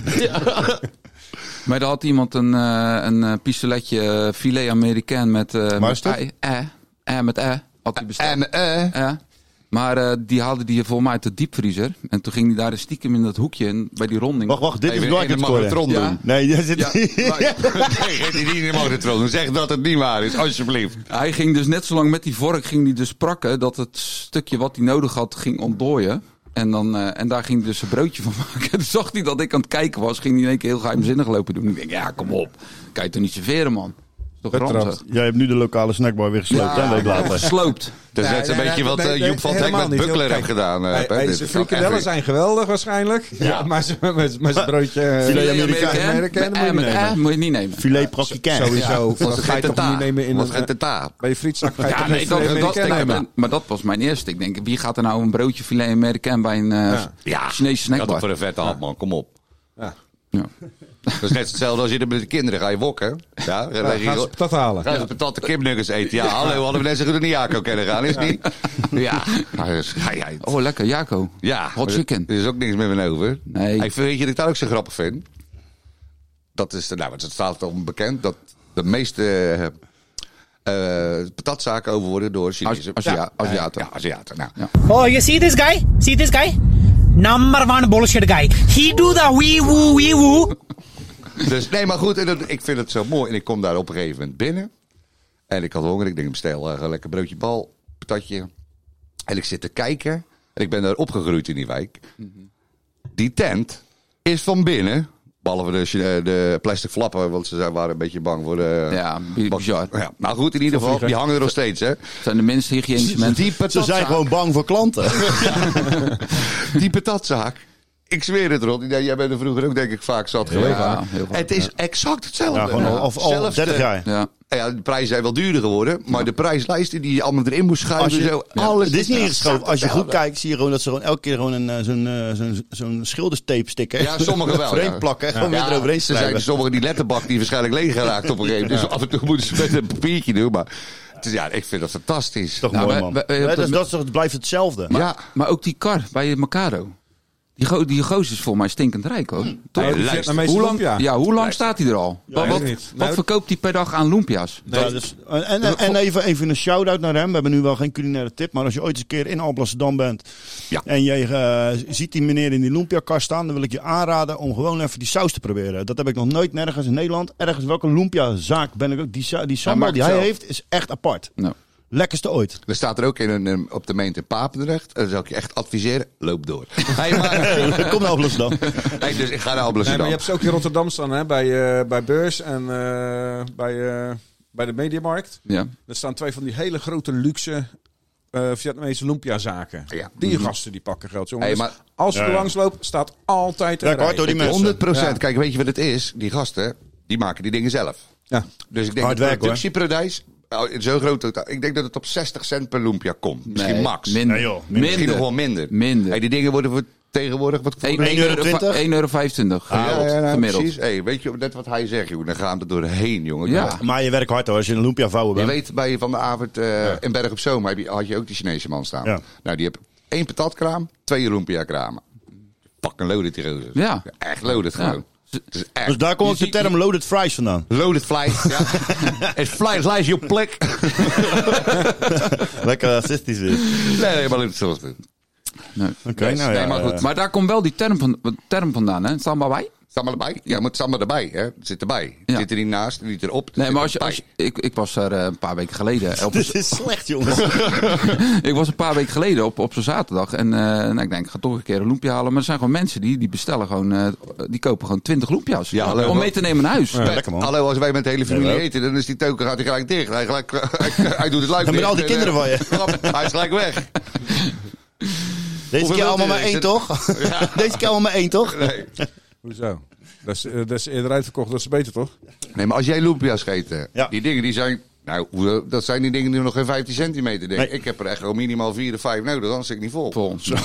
Speaker 9: Maar daar had iemand een, eh, een eh, pistoletje eh, filet Amerikaan met... eh
Speaker 2: Waar
Speaker 9: met
Speaker 2: is dat?
Speaker 9: ei. Eh, eh, met eh, had hij besteld. Eh. Maar eh, die haalde die volgens mij uit de diepvriezer. En toen ging die daar stiekem in dat hoekje in, bij die ronding.
Speaker 2: Wacht, wacht. Dit
Speaker 6: Even
Speaker 2: is
Speaker 6: in de
Speaker 2: belangrijk.
Speaker 6: magnetron
Speaker 9: Ja.
Speaker 6: doen.
Speaker 2: Nee, jij zit...
Speaker 9: Ja,
Speaker 6: nee, geef die niet in de magnetron. Doe. Zeg dat het niet waar is, alsjeblieft.
Speaker 9: Hij ging dus net zo lang met die vork ging die dus prakken dat het stukje wat hij nodig had ging ontdooien. En, dan, eh, en daar ging hij dus een broodje van maken. Toen zag hij dat ik aan het kijken was, ging hij in één keer heel geheimzinnig lopen doen. Ik denk, ja, kom op. Kan je toch niet serveren, man? Dat is toch ranzig?
Speaker 2: Jij hebt nu de lokale snackbar weer gesloopt. Ja, een week later.
Speaker 9: Gesloopt.
Speaker 6: Dat is
Speaker 8: Nee,
Speaker 6: net een
Speaker 8: nee,
Speaker 6: beetje
Speaker 8: nee,
Speaker 6: wat eh,
Speaker 8: nee,
Speaker 6: Joep van
Speaker 8: helemaal
Speaker 6: Teck met
Speaker 8: niet.
Speaker 6: Buckler
Speaker 8: Kijk,
Speaker 6: heeft gedaan. eh,
Speaker 8: Hey,
Speaker 6: Pet.
Speaker 8: hey,
Speaker 6: Dit
Speaker 8: zijn
Speaker 6: gaat echt
Speaker 8: frikandellen
Speaker 6: weer-
Speaker 8: zijn geweldig waarschijnlijk. Ja. Maar ze- met met zijn broodje... eh,
Speaker 2: Filet
Speaker 9: Amerikaan.
Speaker 8: Amerikaan
Speaker 9: Met eh,
Speaker 8: moet
Speaker 9: met
Speaker 8: je nemen.
Speaker 9: eh, moet je niet nemen.
Speaker 2: Filet praktikant.
Speaker 8: Sowieso.
Speaker 6: Want
Speaker 8: Dat
Speaker 6: ze
Speaker 8: ga je
Speaker 6: gaat
Speaker 8: toch niet nemen in
Speaker 6: Want
Speaker 8: een...
Speaker 6: ze gaat daar.
Speaker 8: Bij je frietzak ga je
Speaker 9: Ja,
Speaker 8: toch
Speaker 9: nee,
Speaker 8: niet
Speaker 9: dat,
Speaker 8: filet
Speaker 9: eh, dat,
Speaker 8: Amerikaan
Speaker 9: dat-
Speaker 8: nemen?
Speaker 9: maar dat was mijn eerste. Ik denk, wie gaat er nou een broodje filet Amerikaan bij een eh,
Speaker 6: Ja,
Speaker 9: Chinese
Speaker 6: dat
Speaker 9: snackbar?
Speaker 6: is voor een vette hand, man. Kom op.
Speaker 8: Ja.
Speaker 9: Ja.
Speaker 6: Dat is net hetzelfde als je er met de kinderen ga je wokken. Ja, dan leg je-
Speaker 8: gaan ze patat halen.
Speaker 6: Gaan ze patat en kipnuggets eten. Ja, hallo, hadden we net zo goed naar Jaco kunnen gaan, is het niet? Ja, nou, dat is geheid.
Speaker 9: Oh, lekker, Jaco.
Speaker 6: Ja,
Speaker 9: Hot
Speaker 6: er-
Speaker 9: chicken.
Speaker 6: Er is ook niks meer van over.
Speaker 9: Nee.
Speaker 6: Hey, weet je dat ik daar ook zo grappig vind? Dat is, de- nou, want het staat onbekend dat de meeste eh, eh, patatzaken over worden door Chinese
Speaker 9: Als- Aziaten.
Speaker 6: Ja, Aziaten. Ja, Aziaten. Nou,
Speaker 18: Oh, you see this guy? See this guy? Number one bullshit guy. He do the wee woo wee woo.
Speaker 6: Dus nee, maar goed, en dat- ik vind het zo mooi. En ik kom daar op een gegeven moment binnen. En ik had honger. Ik denk, ik bestel eh, een lekker broodje bal, patatje. En ik zit te kijken. En ik ben daar opgegroeid in die wijk.
Speaker 9: Mhm.
Speaker 6: Die tent is van binnen. Behalve de, Chine- eh, de plastic flappen, want ze zijn- waren een beetje bang voor de...
Speaker 9: Ja, bi- bizar.
Speaker 6: Ja, nou goed, in ieder geval, die hangen er nog steeds, hè.
Speaker 9: Het zijn de minst hygiënische mensen.
Speaker 6: Die
Speaker 2: Ze zijn
Speaker 6: patatzaak,
Speaker 2: gewoon bang voor klanten.
Speaker 6: die patatzaak. Ik zweer het, Rod. Ja, jij bent er vroeger ook, denk ik, vaak zat geweest.
Speaker 9: Ja, heel goed.
Speaker 6: het is exact hetzelfde.
Speaker 2: Ja, gewoon al, al, al
Speaker 6: Zelfde-
Speaker 2: 30 jaar.
Speaker 9: Ja.
Speaker 6: Nou Ja, de prijzen zijn wel duurder geworden, maar de prijslijsten die je allemaal erin moest
Speaker 2: Als
Speaker 6: schuiven,
Speaker 2: je,
Speaker 6: zo,
Speaker 2: Ja.
Speaker 6: alles
Speaker 2: dit is niet
Speaker 6: Ja,
Speaker 2: ingeschoven. Als je goed
Speaker 6: hetzelfde.
Speaker 2: kijkt, zie je gewoon dat ze gewoon elke keer gewoon een, eh, zo'n, eh, zo'n, zo'n schilderstape stikken.
Speaker 6: Ja, sommige wel.
Speaker 2: Vreemd
Speaker 6: ja.
Speaker 2: plakken, gewoon
Speaker 6: Ja,
Speaker 2: weer eroverheen
Speaker 6: er zijn
Speaker 2: schrijven.
Speaker 6: sommigen die letterbak die waarschijnlijk leeg geraakt op een gegeven moment. Dus af en toe moeten ze met een papiertje doen, maar het is, ja, ik vind dat fantastisch.
Speaker 2: Toch
Speaker 9: Ja,
Speaker 2: mooi,
Speaker 9: wij-
Speaker 2: man.
Speaker 9: wij- wij-
Speaker 2: Ja,
Speaker 9: op
Speaker 2: dat,
Speaker 9: de-
Speaker 2: is- dat is toch- het blijft hetzelfde.
Speaker 9: Maar,
Speaker 6: Ja.
Speaker 9: maar ook die kar bij Macaro. Die, go die gozer is volgens mij stinkend rijk hoor. Toch?
Speaker 8: Hij heeft gezet naar meester
Speaker 9: hoe lang,
Speaker 8: Lumpia.
Speaker 9: ja. hoe lang staat hij er al? wat
Speaker 8: weet
Speaker 9: wat,
Speaker 8: ik niet.
Speaker 9: wat
Speaker 8: Nou,
Speaker 9: verkoopt hij per dag aan Lumpia's?
Speaker 2: Ja, dus- en, en, en even, even een shout-out naar hem. We hebben nu wel geen culinaire tip, maar als je ooit eens een keer in Alblasserdam bent
Speaker 6: Ja.
Speaker 2: en je eh, ziet die meneer in die lumpia-kast staan, dan wil ik je aanraden om gewoon even die saus te proberen. Dat heb ik nog nooit nergens in Nederland. Ergens welke lumpia-zaak ben ik ook. Die, sa- die sambal
Speaker 6: maakt
Speaker 2: die
Speaker 6: het
Speaker 2: hij
Speaker 6: zelf.
Speaker 2: heeft is echt apart.
Speaker 9: Nou,
Speaker 2: Lekkerste ooit.
Speaker 6: Er staat er ook in een, een- op de meent in Papendrecht, en dan zou ik je echt adviseren, loop door. Hey, maar,
Speaker 2: Kom nou, naar Alblasserdam.
Speaker 6: hey, dus ik ga naar
Speaker 8: Nee, maar
Speaker 6: Alblasserdam.
Speaker 8: je hebt ze ook in Rotterdam staan, hè? Bij, eh, bij Beurs en eh, bij, eh, bij de Mediamarkt.
Speaker 9: ja.
Speaker 8: Er staan twee van die hele grote luxe eh Vietnamese lumpia-zaken.
Speaker 6: Ja.
Speaker 8: Die gasten die pakken geld, jongens.
Speaker 6: Hey, maar-
Speaker 8: Als je
Speaker 2: Ja,
Speaker 8: er
Speaker 2: ja.
Speaker 8: langs loopt, staat altijd een
Speaker 2: Ja, ik hoor
Speaker 8: rij.
Speaker 2: door die mensen.
Speaker 6: 100
Speaker 8: Ja.
Speaker 6: Kijk, weet je wat het is? Die gasten, die maken die dingen zelf.
Speaker 8: Ja.
Speaker 6: Dus ik denk
Speaker 2: Hard
Speaker 6: dat de
Speaker 2: werk, hoor.
Speaker 6: productieprijs, oh, zo groot, totaal- ik denk dat het op 60 cent per lumpia komt. Misschien
Speaker 9: Nee,
Speaker 6: max.
Speaker 9: Minder.
Speaker 2: Nee, joh, minder.
Speaker 6: Misschien nog wel minder.
Speaker 9: Minder.
Speaker 6: Hey, die dingen worden voor tegenwoordig wat voor-
Speaker 9: 1,20
Speaker 2: euro
Speaker 9: euro. 1,25 euro gemiddeld. gemiddeld.
Speaker 6: Ah, precies. Hey, weet je net wat hij zegt, joh? Dan gaan we er doorheen, jongen.
Speaker 9: Ja.
Speaker 2: Maar je werkt hard hoor, als je een lumpia vouwen
Speaker 6: Je
Speaker 2: bent.
Speaker 6: weet bij Van de Avond eh, in Berg op Zoom heb je, had je ook die Chinese man staan.
Speaker 2: Ja.
Speaker 6: Nou, die heeft één patatkraam, twee lumpia-kramen. Pak een loaded die rozen.
Speaker 9: Ja.
Speaker 6: Echt loaded gewoon. Het is echt
Speaker 2: Dus daar komt
Speaker 9: Je
Speaker 2: ook de
Speaker 9: ziet-
Speaker 2: term loaded fries vandaan.
Speaker 6: Loaded flight. Ja. Het flight lies je plek.
Speaker 2: Lekker racistisch weer. Oké,
Speaker 6: Nee, nee, maar het is zo.
Speaker 2: nou ja.
Speaker 6: nee, maar goed.
Speaker 9: Maar daar komt wel die term, van, term vandaan, hè? Staan bij?
Speaker 6: Staan maar erbij. Ja, moet staan maar erbij. Hè. Zit erbij.
Speaker 9: Ja.
Speaker 6: Zit er niet naast, niet erop.
Speaker 9: Nee,
Speaker 6: zit
Speaker 9: maar als je,
Speaker 6: erbij.
Speaker 9: als je- ik, ik was daar eh, een paar weken geleden. Op,
Speaker 2: Dit is slecht, jongens.
Speaker 9: ik was een paar weken geleden op, op zo'n zaterdag. En eh, nou, ik denk, ik ga toch een keer een loempje halen. Maar er zijn gewoon mensen die, die bestellen gewoon, eh, die kopen gewoon 20 loempia's.
Speaker 6: Ja, hallo,
Speaker 9: om
Speaker 6: hoor.
Speaker 9: mee te nemen naar huis.
Speaker 2: Ja, lekker man.
Speaker 6: Hallo, als wij met de hele familie
Speaker 2: Hello.
Speaker 6: eten, dan is die token gaat hij gelijk dicht. Hij, gelijk, eh, hij doet het luik
Speaker 2: Dan met
Speaker 6: dicht
Speaker 2: al die
Speaker 6: en,
Speaker 2: kinderen
Speaker 6: eh,
Speaker 2: van je.
Speaker 6: klap, hij is gelijk weg.
Speaker 2: Deze
Speaker 6: Hoeveel
Speaker 2: keer allemaal
Speaker 6: wilt u?
Speaker 2: maar één,
Speaker 6: Is
Speaker 2: toch? Deze keer allemaal maar één, toch?
Speaker 6: Nee.
Speaker 8: Hoezo? Dat is, eh, dat is eerder uitverkocht, dat is beter toch?
Speaker 6: Nee, maar als jij lumpia's eet, hè, die dingen die zijn... Nou, hoe- dat zijn die dingen die nog geen 15 centimeter denk ik. Ik heb er echt al minimaal 4 of 5 nodig, anders zit ik niet vol.
Speaker 9: Vol. Ja,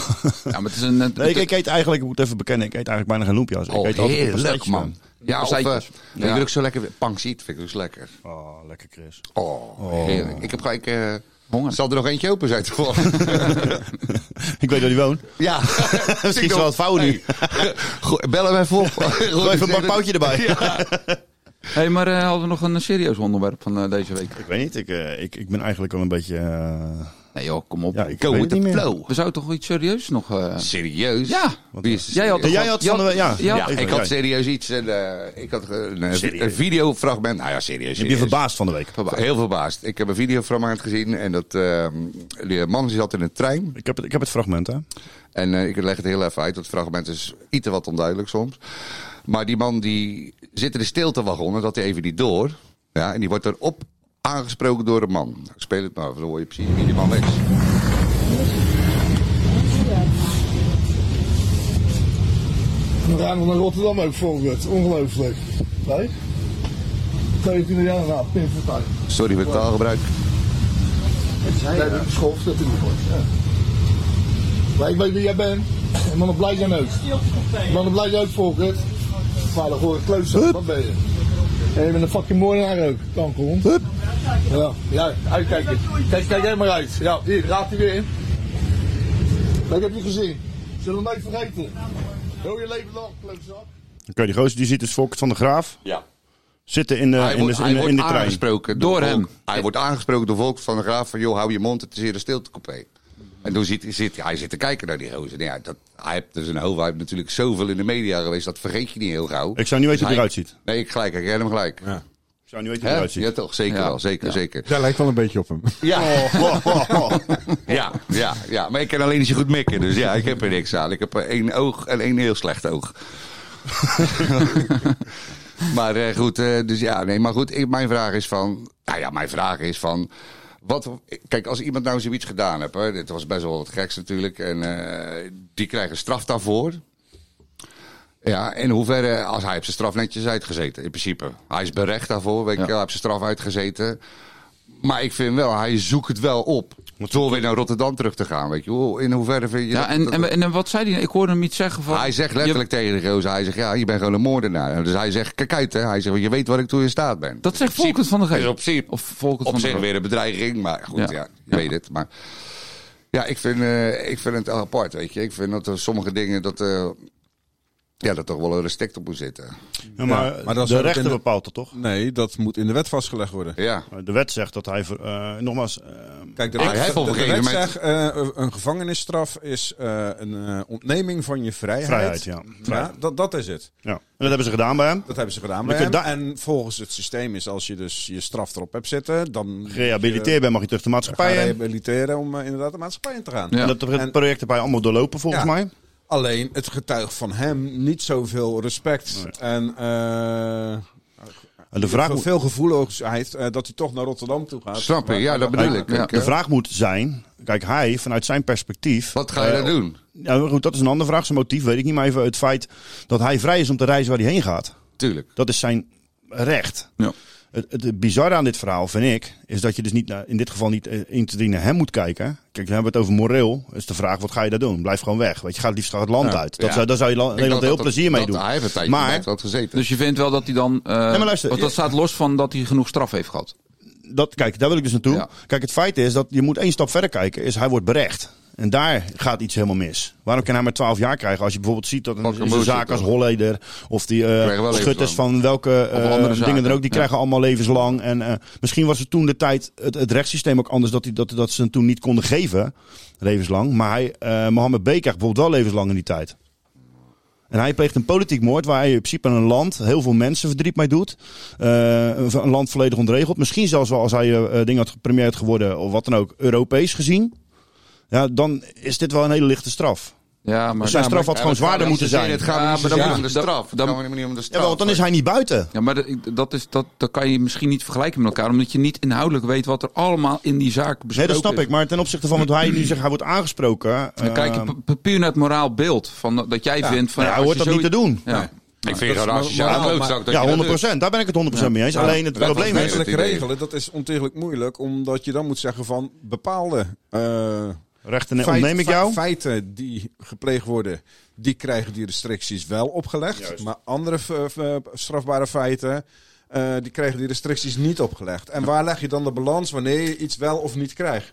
Speaker 9: maar het is een...
Speaker 2: Nee, ik, ik eet eigenlijk, ik moet even bekennen, ik eet eigenlijk bijna geen loempje. ik
Speaker 6: eh, Oh,
Speaker 2: eet altijd
Speaker 6: heerlijk,
Speaker 2: pasteitjes,
Speaker 6: man. Ja, of, eh,
Speaker 2: Pasteitjes.
Speaker 6: ik wil ook zo lekker... Pangsiet vind ik dus lekker.
Speaker 2: Oh, lekker Chris.
Speaker 6: Oh,
Speaker 2: Oh.
Speaker 6: heerlijk. Ik heb gelijk... eh, Zal er nog eentje open zijn toch?
Speaker 2: Ik weet waar die woont.
Speaker 6: ja.
Speaker 2: Misschien is wel het fout nu.
Speaker 6: Gooi- Bel hem even op. Gooi
Speaker 2: even een bak
Speaker 6: poutje
Speaker 2: poutje erbij.
Speaker 9: Hé, maar eh, hadden we nog een serieus onderwerp van eh, deze week? Ik
Speaker 2: weet niet, ik, eh, ik, ik ben eigenlijk al een beetje... eh,
Speaker 9: Nee joh, kom op.
Speaker 2: Ja, ik
Speaker 9: Go
Speaker 2: weet
Speaker 9: with
Speaker 2: het
Speaker 9: the
Speaker 2: niet meer.
Speaker 9: flow. We zouden toch iets serieus nog... eh,
Speaker 6: Serieus?
Speaker 9: Ja.
Speaker 6: Wie is er
Speaker 9: Jij had
Speaker 6: serieus?
Speaker 9: toch- Jij had van de- ja.
Speaker 6: ja,
Speaker 9: Ja,
Speaker 6: ik
Speaker 9: even,
Speaker 6: had
Speaker 9: jij.
Speaker 6: serieus iets. En, eh, ik had eh, een,
Speaker 9: Serieus.
Speaker 6: een videofragment. Nou ja, serieus.
Speaker 2: Heb je
Speaker 6: serieus.
Speaker 2: verbaasd van de week?
Speaker 6: Verbaasd. Heel verbaasd. Ik heb een videofragment gezien en dat eh, die man zat in een trein.
Speaker 2: Ik heb het, ik heb het fragment, hè?
Speaker 6: En eh, ik leg het heel even uit. Dat fragment is iets te wat onduidelijk soms. Maar die man die zit in de stiltewagon en dat hij even niet door. Ja, en die wordt erop aangesproken door een man. Ik speel het maar, dan hoor je precies wie die man is.
Speaker 19: We gaan naar Rotterdam ook volgend. Ongelooflijk. Nee? 22 jaar na, pinvertuin.
Speaker 6: Sorry voor het taalgebruik.
Speaker 19: Nee, dat is schof, dat doe ik hoor. Ja. Maar ik weet wie jij bent. En mannen blij zijn ook. Mannen blij zijn ook, Volkert. Maar dan hoor ik klootzak, wat ben je? En je bent een fucking moordenaar ook, kankerhond. Ja, ja, uitkijken. Kijk, kijk jij maar uit. Ja, hier, raad hij weer in. Dat heb je gezien. Zullen we nooit vergeten. Heel je leven lang, klootzak.
Speaker 2: Oké, die gozer die ziet dus Volkert van de Graaf.
Speaker 6: Ja.
Speaker 2: Zitten in de,
Speaker 6: Hij
Speaker 2: in de,
Speaker 6: wordt,
Speaker 2: in
Speaker 6: hij
Speaker 2: de,
Speaker 6: wordt
Speaker 2: in de trein.
Speaker 6: aangesproken door, hem. Hij wordt aangesproken door Volks van de Graaf van... joh, hou je mond, het is hier een stiltecoupé. En toen zit, zit hij zit te kijken naar die gozer. Nou Ja, dat, hij heeft dus een hoofd. Hij heeft natuurlijk zoveel in de media geweest. Dat vergeet je niet heel gauw. Dus
Speaker 2: Ik zou niet weten hoe hij eruit ziet.
Speaker 6: Nee, ik gelijk. Ik ken hem gelijk.
Speaker 2: Ik zou niet weten hoe
Speaker 6: Hè?
Speaker 2: hij eruit ziet.
Speaker 6: Ja, toch? Zeker
Speaker 2: Ja.
Speaker 6: wel. Zeker, zeker.
Speaker 8: Jij lijkt wel een beetje op hem.
Speaker 6: Ja. Oh, ja, ja, ja. Maar ik kan alleen niet zo goed mikken. Dus ja, ik heb er niks aan. Ik heb eh, één oog en één heel slecht oog. maar eh, goed, eh, dus ja, nee, maar goed. ik- mijn vraag is van, nou ja, mijn vraag is van, wat, kijk, als iemand nou zoiets gedaan heeft, hè, dit was best wel wat geks natuurlijk, en eh, die krijgen straf daarvoor. Ja, in hoeverre, als hij heeft zijn straf netjes uitgezeten, in principe. Hij is berecht daarvoor, weet je wel, hij heeft zijn straf uitgezeten. Maar ik vind wel, hij zoekt het wel op. Door weer naar Rotterdam terug te gaan, weet je wel. In hoeverre vind je
Speaker 9: Ja,
Speaker 6: dat-
Speaker 9: en,
Speaker 6: dat-
Speaker 9: en, en, en wat zei hij? Ik hoorde hem iets zeggen van...
Speaker 6: hij zegt letterlijk tegen de gozer, hij zegt, ja, je bent gewoon een moordenaar. Dus hij zegt, kijk uit, hè. Hij zegt, je weet waar ik toe in staat ben. Dus
Speaker 9: Dat zegt Volkert van de Geest.
Speaker 6: op zich,
Speaker 9: of Volkert
Speaker 6: op
Speaker 9: van de
Speaker 6: zich
Speaker 9: Geest.
Speaker 6: weer een bedreiging, maar goed, ja,
Speaker 9: Ja.
Speaker 6: je weet het. Maar ja, ik vind, eh, ik vind het apart, weet je. Ik vind dat er sommige dingen, dat, eh, ja, dat toch wel een respect op moet zitten.
Speaker 2: Ja, maar,
Speaker 8: dan zou
Speaker 2: de
Speaker 8: het
Speaker 2: rechter
Speaker 8: in de-
Speaker 2: bepaalt dat toch?
Speaker 8: Nee, dat moet in de wet vastgelegd worden.
Speaker 6: Ja.
Speaker 2: De wet zegt dat hij... ver- eh, nogmaals... eh,
Speaker 8: Kijk, de
Speaker 2: ik-
Speaker 8: wet,
Speaker 2: hij heeft op
Speaker 8: de
Speaker 2: een gegeven
Speaker 8: wet
Speaker 2: moment-
Speaker 8: zegt, eh, een gevangenisstraf is eh, een eh, ontneming van je vrijheid.
Speaker 2: Vrijheid, ja. Vrijheid.
Speaker 8: dat, dat is het.
Speaker 2: Ja. En dat hebben ze gedaan bij hem.
Speaker 8: Dat hebben ze gedaan
Speaker 2: Je
Speaker 8: bij hem.
Speaker 2: kunt da-
Speaker 8: En volgens het systeem is als je dus je straf erop hebt zitten, dan...
Speaker 2: Gerehabiliteerd bent, mag je terug de
Speaker 8: Ga
Speaker 2: maatschappij in.
Speaker 8: rehabiliteren om eh, inderdaad de maatschappij in te gaan.
Speaker 2: En dat het project heb hij allemaal doorlopen, volgens
Speaker 8: Ja.
Speaker 2: mij.
Speaker 8: Alleen, het getuigt van hem niet zoveel respect. En, eh,
Speaker 2: En de vraag
Speaker 8: veel,
Speaker 2: moet-
Speaker 8: veel gevoeligheid eh, dat hij toch naar Rotterdam toe gaat.
Speaker 6: Snap ik, ja, dat bedoel ik. Kijk,
Speaker 2: De
Speaker 6: eh,
Speaker 2: vraag moet zijn, kijk, hij vanuit zijn perspectief.
Speaker 6: Wat ga je
Speaker 2: eh,
Speaker 6: dan doen?
Speaker 2: Ja, maar goed, dat is een andere vraag. Zijn motief weet ik niet, maar even het feit dat hij vrij is om te reizen waar hij heen gaat.
Speaker 6: Tuurlijk.
Speaker 2: Dat is zijn recht. Het, het bizarre aan dit verhaal, vind ik, is dat je dus niet, naar- in dit geval niet eh, in te dienen hem moet kijken. Kijk, dan hebben we het over moreel. is de vraag, wat ga je daar doen? Blijf gewoon weg. Weet je, ga het liefst het land
Speaker 9: Ja.
Speaker 2: uit. Dat
Speaker 9: Ja.
Speaker 2: zou, daar zou je la-
Speaker 9: Ik
Speaker 2: Nederland
Speaker 9: dacht
Speaker 2: heel
Speaker 9: dat-
Speaker 2: plezier mee
Speaker 9: dat-
Speaker 2: doen.
Speaker 9: hij heeft een tijdje bij
Speaker 2: maar,
Speaker 9: het land
Speaker 6: gezeten.
Speaker 9: Dus je vindt wel dat hij dan... eh,
Speaker 2: maar luister,
Speaker 9: want dat
Speaker 2: je-
Speaker 9: staat los van dat hij genoeg straf heeft gehad.
Speaker 2: dat, kijk, daar wil ik dus naartoe. Kijk, het feit is dat je moet één stap verder kijken. Is hij wordt berecht. En daar gaat iets helemaal mis. Waarom kan hij maar 12 jaar krijgen? Als je bijvoorbeeld ziet dat een,
Speaker 6: Pak een
Speaker 2: een zo'n
Speaker 6: boete,
Speaker 2: zaak als
Speaker 6: toch?
Speaker 2: Holleder of die eh,
Speaker 6: Krijgen wel
Speaker 2: schutters
Speaker 6: levenslang.
Speaker 2: van welke eh,
Speaker 6: Of andere zaken,
Speaker 2: dingen er ook, die
Speaker 6: ja.
Speaker 2: krijgen allemaal levenslang. En eh, misschien was het toen de tijd het, het rechtssysteem ook anders dat, die, dat, dat ze hem toen niet konden geven, levenslang. Maar hij, eh, Mohammed B. krijgt bijvoorbeeld wel levenslang in die tijd. En hij pleegt een politiek moord waar hij in principe een land, heel veel mensen verdriet mee doet. Eh, een land volledig ontregeld. Misschien zelfs wel als hij eh, eh, ding had gepremeerd geworden of wat dan ook, Europees gezien. Ja, dan is dit wel een hele lichte straf.
Speaker 9: Ja, maar,
Speaker 2: Dus zijn
Speaker 9: ja,
Speaker 2: straf
Speaker 9: maar-
Speaker 2: had gewoon zwaarder moeten zijn.
Speaker 6: Het gaat niet
Speaker 9: maar dan
Speaker 6: zozeer om
Speaker 9: moet-
Speaker 6: de
Speaker 9: dan-
Speaker 6: straf. Het
Speaker 9: Ah, dus- dan-
Speaker 6: gaat helemaal niet om de straf.
Speaker 2: Jawel, want dan is hij niet buiten.
Speaker 9: Ja, maar dat, dat, is, dat, dat kan je misschien niet vergelijken met elkaar. Omdat je niet inhoudelijk weet wat er allemaal in die zaak besproken
Speaker 2: Nee,
Speaker 9: is.
Speaker 2: dat snap ik. Maar ten opzichte van wat hij nu zegt, hij wordt aangesproken.
Speaker 9: Dan kijk je
Speaker 2: eh,
Speaker 9: pu- pu- puur naar het moraal beeld. Van, dat jij
Speaker 2: Ja.
Speaker 9: vindt van...
Speaker 2: Nou ja,
Speaker 9: als
Speaker 2: hij
Speaker 9: je
Speaker 2: hoort dat niet
Speaker 9: zoiets-
Speaker 2: te doen.
Speaker 9: Ja.
Speaker 2: Nee.
Speaker 8: Maar
Speaker 6: vind
Speaker 8: dat is
Speaker 6: het een raciaal
Speaker 8: moraal,
Speaker 6: klootzak
Speaker 8: maar-
Speaker 6: dat je dat
Speaker 2: Ja, dus. 100%. Daar ben ik het 100% mee eens. Alleen het
Speaker 8: Maar dat
Speaker 2: probleem is...
Speaker 8: wettelijk regelen, dat is ontiegelijk moeilijk. Omdat je dan moet zeggen van bepaalde... eh,
Speaker 2: Rechten ontneem ik
Speaker 8: fe-
Speaker 2: jou.
Speaker 8: Feiten die gepleegd worden, die krijgen die restricties wel opgelegd. Maar andere f- f- strafbare feiten, eh, die krijgen die restricties niet opgelegd. En waar leg je dan de balans wanneer je iets wel of niet krijgt?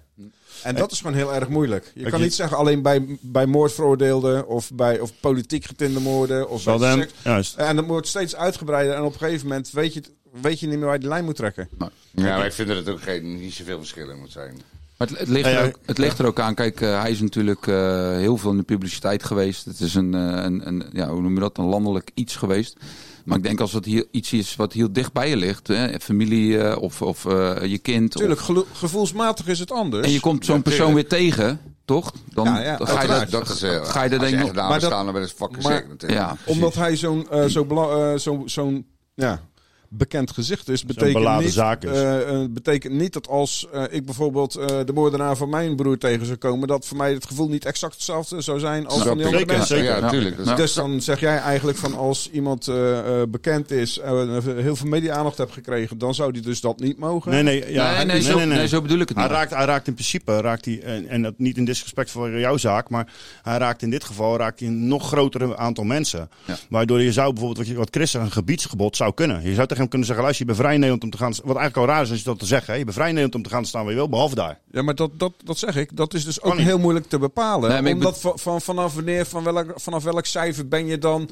Speaker 8: En dat is gewoon heel erg moeilijk. Je
Speaker 2: Kijk,
Speaker 8: kan
Speaker 2: je-
Speaker 8: niet zeggen alleen bij, bij moordveroordeelden of bij of politiek getinde moorden of
Speaker 2: Wel
Speaker 8: bij
Speaker 2: dan,
Speaker 8: seks.
Speaker 2: juist.
Speaker 8: En dat wordt steeds uitgebreider en op een gegeven moment weet je, het- weet je niet meer waar je de lijn moet trekken.
Speaker 20: Ja, wij vinden dat ook geen, niet zoveel verschil in moet zijn.
Speaker 9: Maar het, het ligt,
Speaker 20: Ja, ja.
Speaker 9: er ook, het ligt er ook aan. Kijk, eh, hij is natuurlijk eh, heel veel in de publiciteit geweest. Het is een, eh, een, een ja, hoe noem je dat, een landelijk iets geweest. Maar ik denk als het hier iets is wat heel dicht bij je ligt, hè, familie eh, of, of eh, je kind.
Speaker 8: Tuurlijk,
Speaker 9: of-
Speaker 8: gelo- gevoelsmatig is het anders.
Speaker 9: en je komt zo'n
Speaker 8: Ja,
Speaker 9: persoon
Speaker 8: tuurlijk.
Speaker 9: weer tegen, toch? Dan
Speaker 8: Ja, ja,
Speaker 9: dan ga je
Speaker 8: uiteraard.
Speaker 9: dat,
Speaker 8: Dat is,
Speaker 20: eh,
Speaker 9: ga je
Speaker 20: als
Speaker 9: er denk
Speaker 20: je
Speaker 9: ik
Speaker 20: echt
Speaker 9: nog
Speaker 20: daar
Speaker 8: Maar dat-
Speaker 20: staan, dan ben je fucking
Speaker 8: maar-
Speaker 20: zeker natuurlijk.
Speaker 9: Ja, precies.
Speaker 8: Omdat hij zo'n eh, zo bela- eh, zo, zo'n ja, bekend gezicht is, betekent
Speaker 2: beladen
Speaker 8: niet,
Speaker 2: zaak is.
Speaker 8: eh, eh, betekent niet dat als eh, ik bijvoorbeeld eh, de moordenaar van mijn broer tegen zou komen, dat voor mij het gevoel niet exact hetzelfde zou zijn als
Speaker 20: Nou,
Speaker 8: van die andere
Speaker 20: zeker,
Speaker 8: mensen.
Speaker 20: zeker. Ja, tuurlijk. Dat is-
Speaker 8: Dus dan zeg jij eigenlijk van als iemand eh, eh, bekend is, eh, heel veel media-aandacht hebt gekregen, dan zou die dus dat niet mogen.
Speaker 2: Nee, nee, ja, hij- Hij
Speaker 8: Hij raakt-
Speaker 2: raakt, hij raakt in principe, raakt hij, en, en dat niet in disrespect voor jouw zaak, maar hij raakt in dit geval raakt hij een nog groter aantal mensen. Waardoor je zou bijvoorbeeld, wat, je, wat Chris zegt, een gebiedsgebod zou kunnen. Je zou tegen hem kunnen zeggen, luister, je bent vrij in Nederland om te gaan, wat eigenlijk al raar is als je dat te zeggen, hè. je bent vrij in Nederland om te gaan staan waar je wil, behalve daar.
Speaker 8: Ja, maar dat, dat, dat zeg ik. Dat is dus
Speaker 2: Kan
Speaker 8: ook
Speaker 2: niet.
Speaker 8: heel moeilijk te bepalen.
Speaker 2: Nee, maar ik
Speaker 8: omdat van, van, vanaf wanneer, van welk, vanaf welk cijfer ben je dan... eh,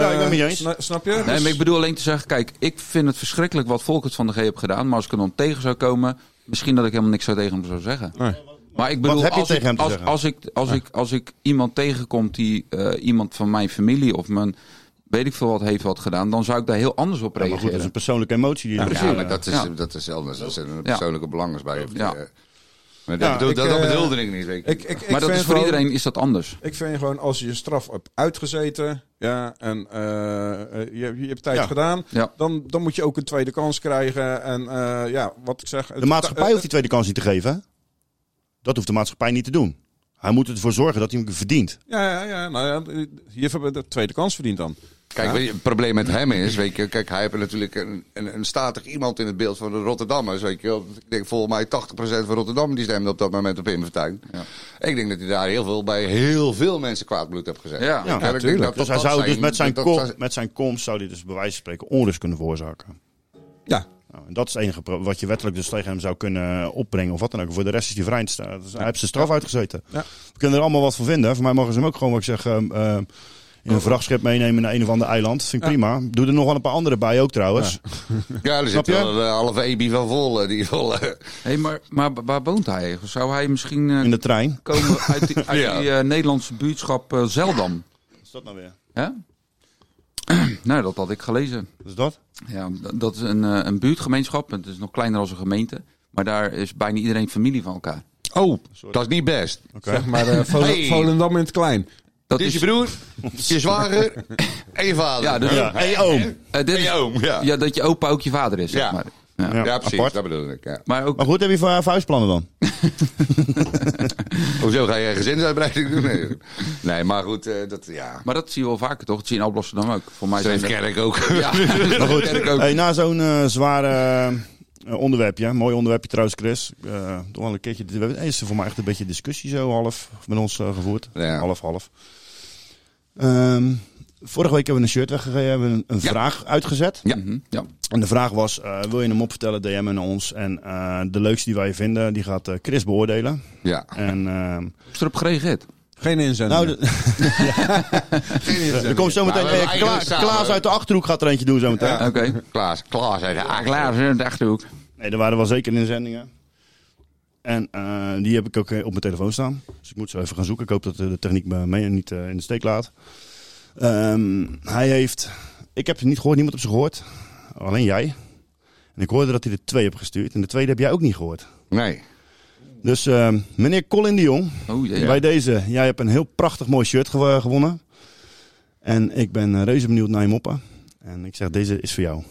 Speaker 2: Ja, ik ben het niet eens.
Speaker 8: sna- Snap je?
Speaker 9: Nee,
Speaker 8: Dus-
Speaker 9: maar ik bedoel alleen te zeggen, kijk, ik vind het verschrikkelijk wat Volkert van de G heeft gedaan. Maar als ik hem dan tegen zou komen, misschien dat ik helemaal niks zo tegen hem zou zeggen. Maar ik bedoel,
Speaker 2: Wat heb je
Speaker 9: als,
Speaker 2: tegen
Speaker 9: ik,
Speaker 2: hem te
Speaker 9: als,
Speaker 2: zeggen?
Speaker 9: als, ik, als, ik, als ik iemand tegenkom die eh, iemand van mijn familie of mijn weet ik veel wat heeft wat gedaan, dan zou ik daar heel anders op
Speaker 2: Ja, maar
Speaker 9: reageren.
Speaker 2: goed, dat is een persoonlijke emotie die je
Speaker 20: Ja,
Speaker 2: hebt.
Speaker 20: maar dat is,
Speaker 9: Ja.
Speaker 20: dat is anders. Er zitten
Speaker 9: Ja.
Speaker 20: persoonlijke belangen bij. Of,
Speaker 9: Ja.
Speaker 20: eh, maar dat,
Speaker 8: Ja,
Speaker 20: bedoel-
Speaker 8: ik,
Speaker 20: dat, dat
Speaker 8: eh,
Speaker 20: bedoelde ik niet. weet je.
Speaker 8: ik- ik- ik
Speaker 9: maar dat
Speaker 8: vind
Speaker 9: is voor
Speaker 8: gewoon-
Speaker 9: iedereen is dat anders.
Speaker 8: Ik vind gewoon, als je je straf hebt uitgezeten... Ja, en eh, eh, je, je hebt tijd
Speaker 2: Ja.
Speaker 8: gedaan...
Speaker 9: Ja.
Speaker 8: Dan, dan moet je ook een tweede kans krijgen. En eh, ja, wat ik zeg... eh,
Speaker 2: De maatschappij
Speaker 8: of
Speaker 2: hoeft die tweede kans niet te geven. hè? Dat hoeft de maatschappij niet te doen. Hij moet ervoor zorgen dat hij hem verdient.
Speaker 8: Ja, ja, ja. Nou ja, hier hebben we de tweede kans verdiend dan.
Speaker 20: Kijk,
Speaker 8: Ja.
Speaker 20: weet je, het probleem met hem is, weet je, kijk, hij heeft natuurlijk een, een, een statig iemand in het beeld van de Rotterdammers, weet je. wel. Ik denk volgens mij 80% van Rotterdam die stemde op dat moment op Pim Fortuyn. Ik denk dat hij daar heel veel bij heel veel mensen kwaad bloed heeft gezet.
Speaker 2: Ja,
Speaker 20: Ik denk dat
Speaker 2: natuurlijk.
Speaker 20: dat-
Speaker 2: dus hij
Speaker 20: dat
Speaker 2: zou dus met zijn,
Speaker 20: dat-
Speaker 2: kom-
Speaker 20: dat-
Speaker 2: met zijn komst zou hij dus bij wijze van spreken onrust kunnen veroorzaken.
Speaker 8: Ja.
Speaker 2: Nou, en dat is het enige pro- wat je wettelijk dus tegen hem zou kunnen opbrengen of wat dan ook. Voor de rest is hij vrij. te staan. Dus hij heeft zijn straf uitgezeten.
Speaker 8: Ja.
Speaker 2: We kunnen er allemaal wat van vinden. Voor mij mogen ze hem ook gewoon, wat ik zeg, ehm, ehm, in een vrachtschip meenemen naar een of ander eiland. Vind ik prima. Doe er nog wel een paar andere bij ook trouwens.
Speaker 20: Ja, er
Speaker 2: Snap
Speaker 20: zit
Speaker 2: je?
Speaker 20: wel een eh, halve EB van vol, eh, die vol. eh.
Speaker 9: Hey, maar, maar waar woont hij? Zou hij misschien eh,
Speaker 2: In de trein.
Speaker 9: komen uit die, uit
Speaker 20: Ja.
Speaker 9: die eh, Nederlandse buurtschap eh, Zeldam?
Speaker 2: Wat is dat nou weer?
Speaker 9: Ja? nou, dat had ik gelezen.
Speaker 2: Dus dat?
Speaker 9: Ja, d- dat is een, eh, een buurtgemeenschap. Het is nog kleiner dan een gemeente. Maar daar is bijna iedereen familie van elkaar.
Speaker 20: Oh, dat is niet best.
Speaker 8: Zeg maar eh, Vol-
Speaker 20: Hey.
Speaker 8: Volendam in het klein.
Speaker 9: Dat
Speaker 20: Dit is je broer, je zwager en je vader.
Speaker 9: Ja, dus- Ja.
Speaker 20: En je oom.
Speaker 9: Eh, dit
Speaker 20: En je
Speaker 9: is-
Speaker 20: oom, ja.
Speaker 9: Ja, dat je opa ook je vader is, zeg
Speaker 20: oh. Ja. Oh.
Speaker 9: maar.
Speaker 2: Ja,
Speaker 9: Ja.
Speaker 20: precies,
Speaker 2: apart.
Speaker 20: dat bedoel ik. Ja.
Speaker 9: Maar ook...
Speaker 2: Maar goed, heb je voor haar huisplannen dan?
Speaker 20: Hoezo ga je gezinsuitbreiding doen? Nee, nee maar goed, eh, dat, ja.
Speaker 9: Maar dat zie je wel vaker, toch? Dat zie je in Alblasserdam ook. Voor mij zijn
Speaker 20: Zeefkerk ook.
Speaker 9: Ja,
Speaker 2: Maar goed,
Speaker 9: Zeefkerk ook.
Speaker 2: hey, na zo'n eh, zware eh, eh, onderwerpje, mooi onderwerpje trouwens, Chris. Eh toch wel een keertje. We hebben eerst voor mij echt een beetje discussie zo half met ons eh, gevoerd.
Speaker 20: Ja.
Speaker 2: Half, half. Ehm, vorige week hebben we een shirt weggegeven, hebben een, een
Speaker 9: Ja.
Speaker 2: vraag uitgezet.
Speaker 9: Ja. Mhm, ja.
Speaker 2: En de vraag was: eh, wil je hem opvertellen? DM en ons. En eh, de leukste die wij vinden, die gaat eh, Chris beoordelen.
Speaker 20: Ja.
Speaker 2: En, ehm,
Speaker 9: Is erop gereageerd?
Speaker 8: Geen inzending.
Speaker 2: nou, de- er komt zometeen.
Speaker 20: Maar Nou, we hebben
Speaker 2: eh, Kla-
Speaker 20: eigenlijk samen-
Speaker 2: Klaas uit de achterhoek gaat er eentje doen zometeen.
Speaker 9: Oké.
Speaker 20: Klaas, Klaas uit de
Speaker 9: Ja,
Speaker 20: Aak.
Speaker 9: klaar, in de achterhoek.
Speaker 2: Nee, er waren wel zeker inzendingen. En eh, die heb ik ook eh, op mijn telefoon staan. Dus ik moet zo even gaan zoeken. Ik hoop dat eh, de techniek me mee niet eh, in de steek laat. Ehm, hij heeft... Ik heb het niet gehoord. Niemand heeft ze gehoord. Alleen jij. En ik hoorde dat hij er twee hebt gestuurd. En de tweede heb jij ook niet gehoord.
Speaker 20: Nee.
Speaker 2: Dus ehm, meneer Colin de Jong.
Speaker 9: Oh, jee.
Speaker 2: Bij deze. Jij hebt een heel prachtig mooi shirt gew- gewonnen. En ik ben eh, reuze benieuwd naar je moppen. En ik zeg, deze is voor jou.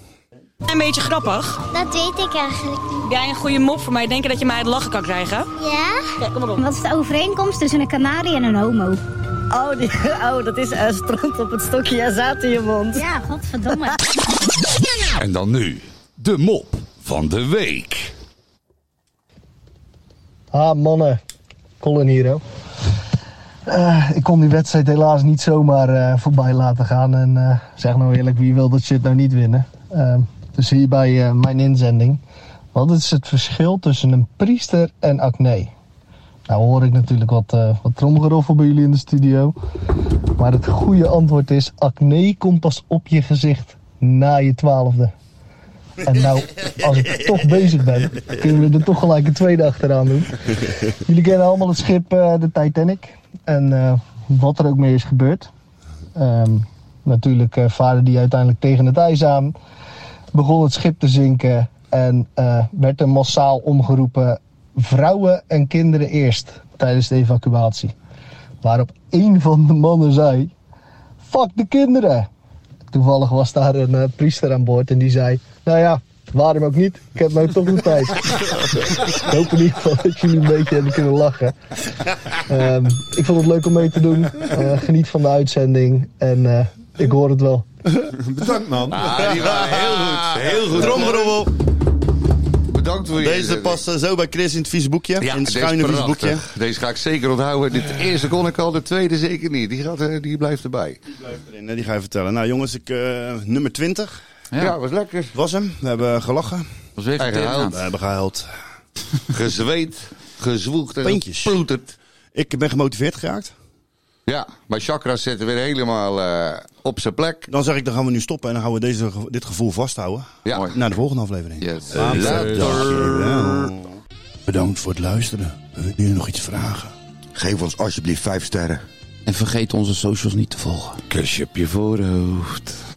Speaker 21: Een beetje grappig.
Speaker 22: Dat weet ik eigenlijk niet.
Speaker 21: Heb jij een goede mop voor mij? Denken dat je mij het lachen kan krijgen?
Speaker 22: Ja? Wat is de overeenkomst tussen een kanarie en een homo?
Speaker 23: Oh, die, oh dat is eh, stront op het stokje en zaad in je mond.
Speaker 24: Ja, godverdomme.
Speaker 25: En dan nu de mop van de week.
Speaker 10: Ah, mannen. Colin hier, hè. Eh, ik kon die wedstrijd helaas niet zomaar eh, voorbij laten gaan. En eh, zeg nou eerlijk, wie wil dat shit nou niet winnen? Ehm, dus hierbij eh, mijn inzending. Wat is het verschil tussen een priester en acne? Nou hoor ik natuurlijk wat, eh wat tromgeroffel bij jullie in de studio. Maar het goede antwoord is, acne komt pas op je gezicht na je twaalfde. En nou, als ik toch bezig ben, kunnen we er toch gelijk een tweede achteraan doen. Jullie kennen allemaal het schip eh, de Titanic. En eh, wat er ook mee is gebeurd. Ehm, natuurlijk eh vaarde die uiteindelijk tegen het ijs aan. Begon het schip te zinken. En eh, werd er massaal omgeroepen: vrouwen en kinderen eerst tijdens de evacuatie. Waarop één van de mannen zei: Fuck de kinderen! Toevallig was daar een eh, priester aan boord en die zei: Nou ja, waarom ook niet? Ik heb nou toch de tijd. ik hoop in ieder geval dat jullie een beetje hebben kunnen lachen. Ehm, ik vond het leuk om mee te doen. Eh, geniet van de uitzending en eh, ik hoor het wel.
Speaker 8: Bedankt, man.
Speaker 6: Ah, die waren heel goed. Heel goed.
Speaker 2: Tromgerommel.
Speaker 6: Bedankt voor je
Speaker 2: Deze
Speaker 6: inzending.
Speaker 2: past eh, zo bij Chris in het vieze boekje.
Speaker 6: Ja,
Speaker 2: in het
Speaker 6: deze
Speaker 2: schuine
Speaker 6: is
Speaker 2: vieze boekje.
Speaker 6: prachtig. Deze ga ik zeker onthouden. Dit eerste kon ik al, de tweede zeker niet. Die, gaat, eh, die blijft erbij.
Speaker 2: En, eh, Die ga je vertellen. Nou jongens, ik, eh, nummer 20.
Speaker 6: Ja. was lekker.
Speaker 2: Was hem. We hebben gelachen.
Speaker 9: Was even
Speaker 6: Eigen
Speaker 9: tegen
Speaker 6: huid.
Speaker 2: We hebben gehuild.
Speaker 6: Gezweet, gezwoegd en
Speaker 2: Peentjes.
Speaker 6: geploeterd.
Speaker 2: Ik ben gemotiveerd geraakt.
Speaker 6: Ja, mijn chakras zitten weer helemaal eh, op zijn plek.
Speaker 2: Dan zeg ik, dan gaan we nu stoppen en dan gaan we deze, ge- dit gevoel vasthouden.
Speaker 6: Ja.
Speaker 2: Naar de volgende aflevering.
Speaker 9: Yes.
Speaker 2: Dankjewel. Bedankt voor het luisteren. Wil jullie nog iets vragen?
Speaker 6: Geef ons alsjeblieft vijf sterren.
Speaker 9: En vergeet onze socials niet te volgen.
Speaker 6: Kusje op je voorhoofd.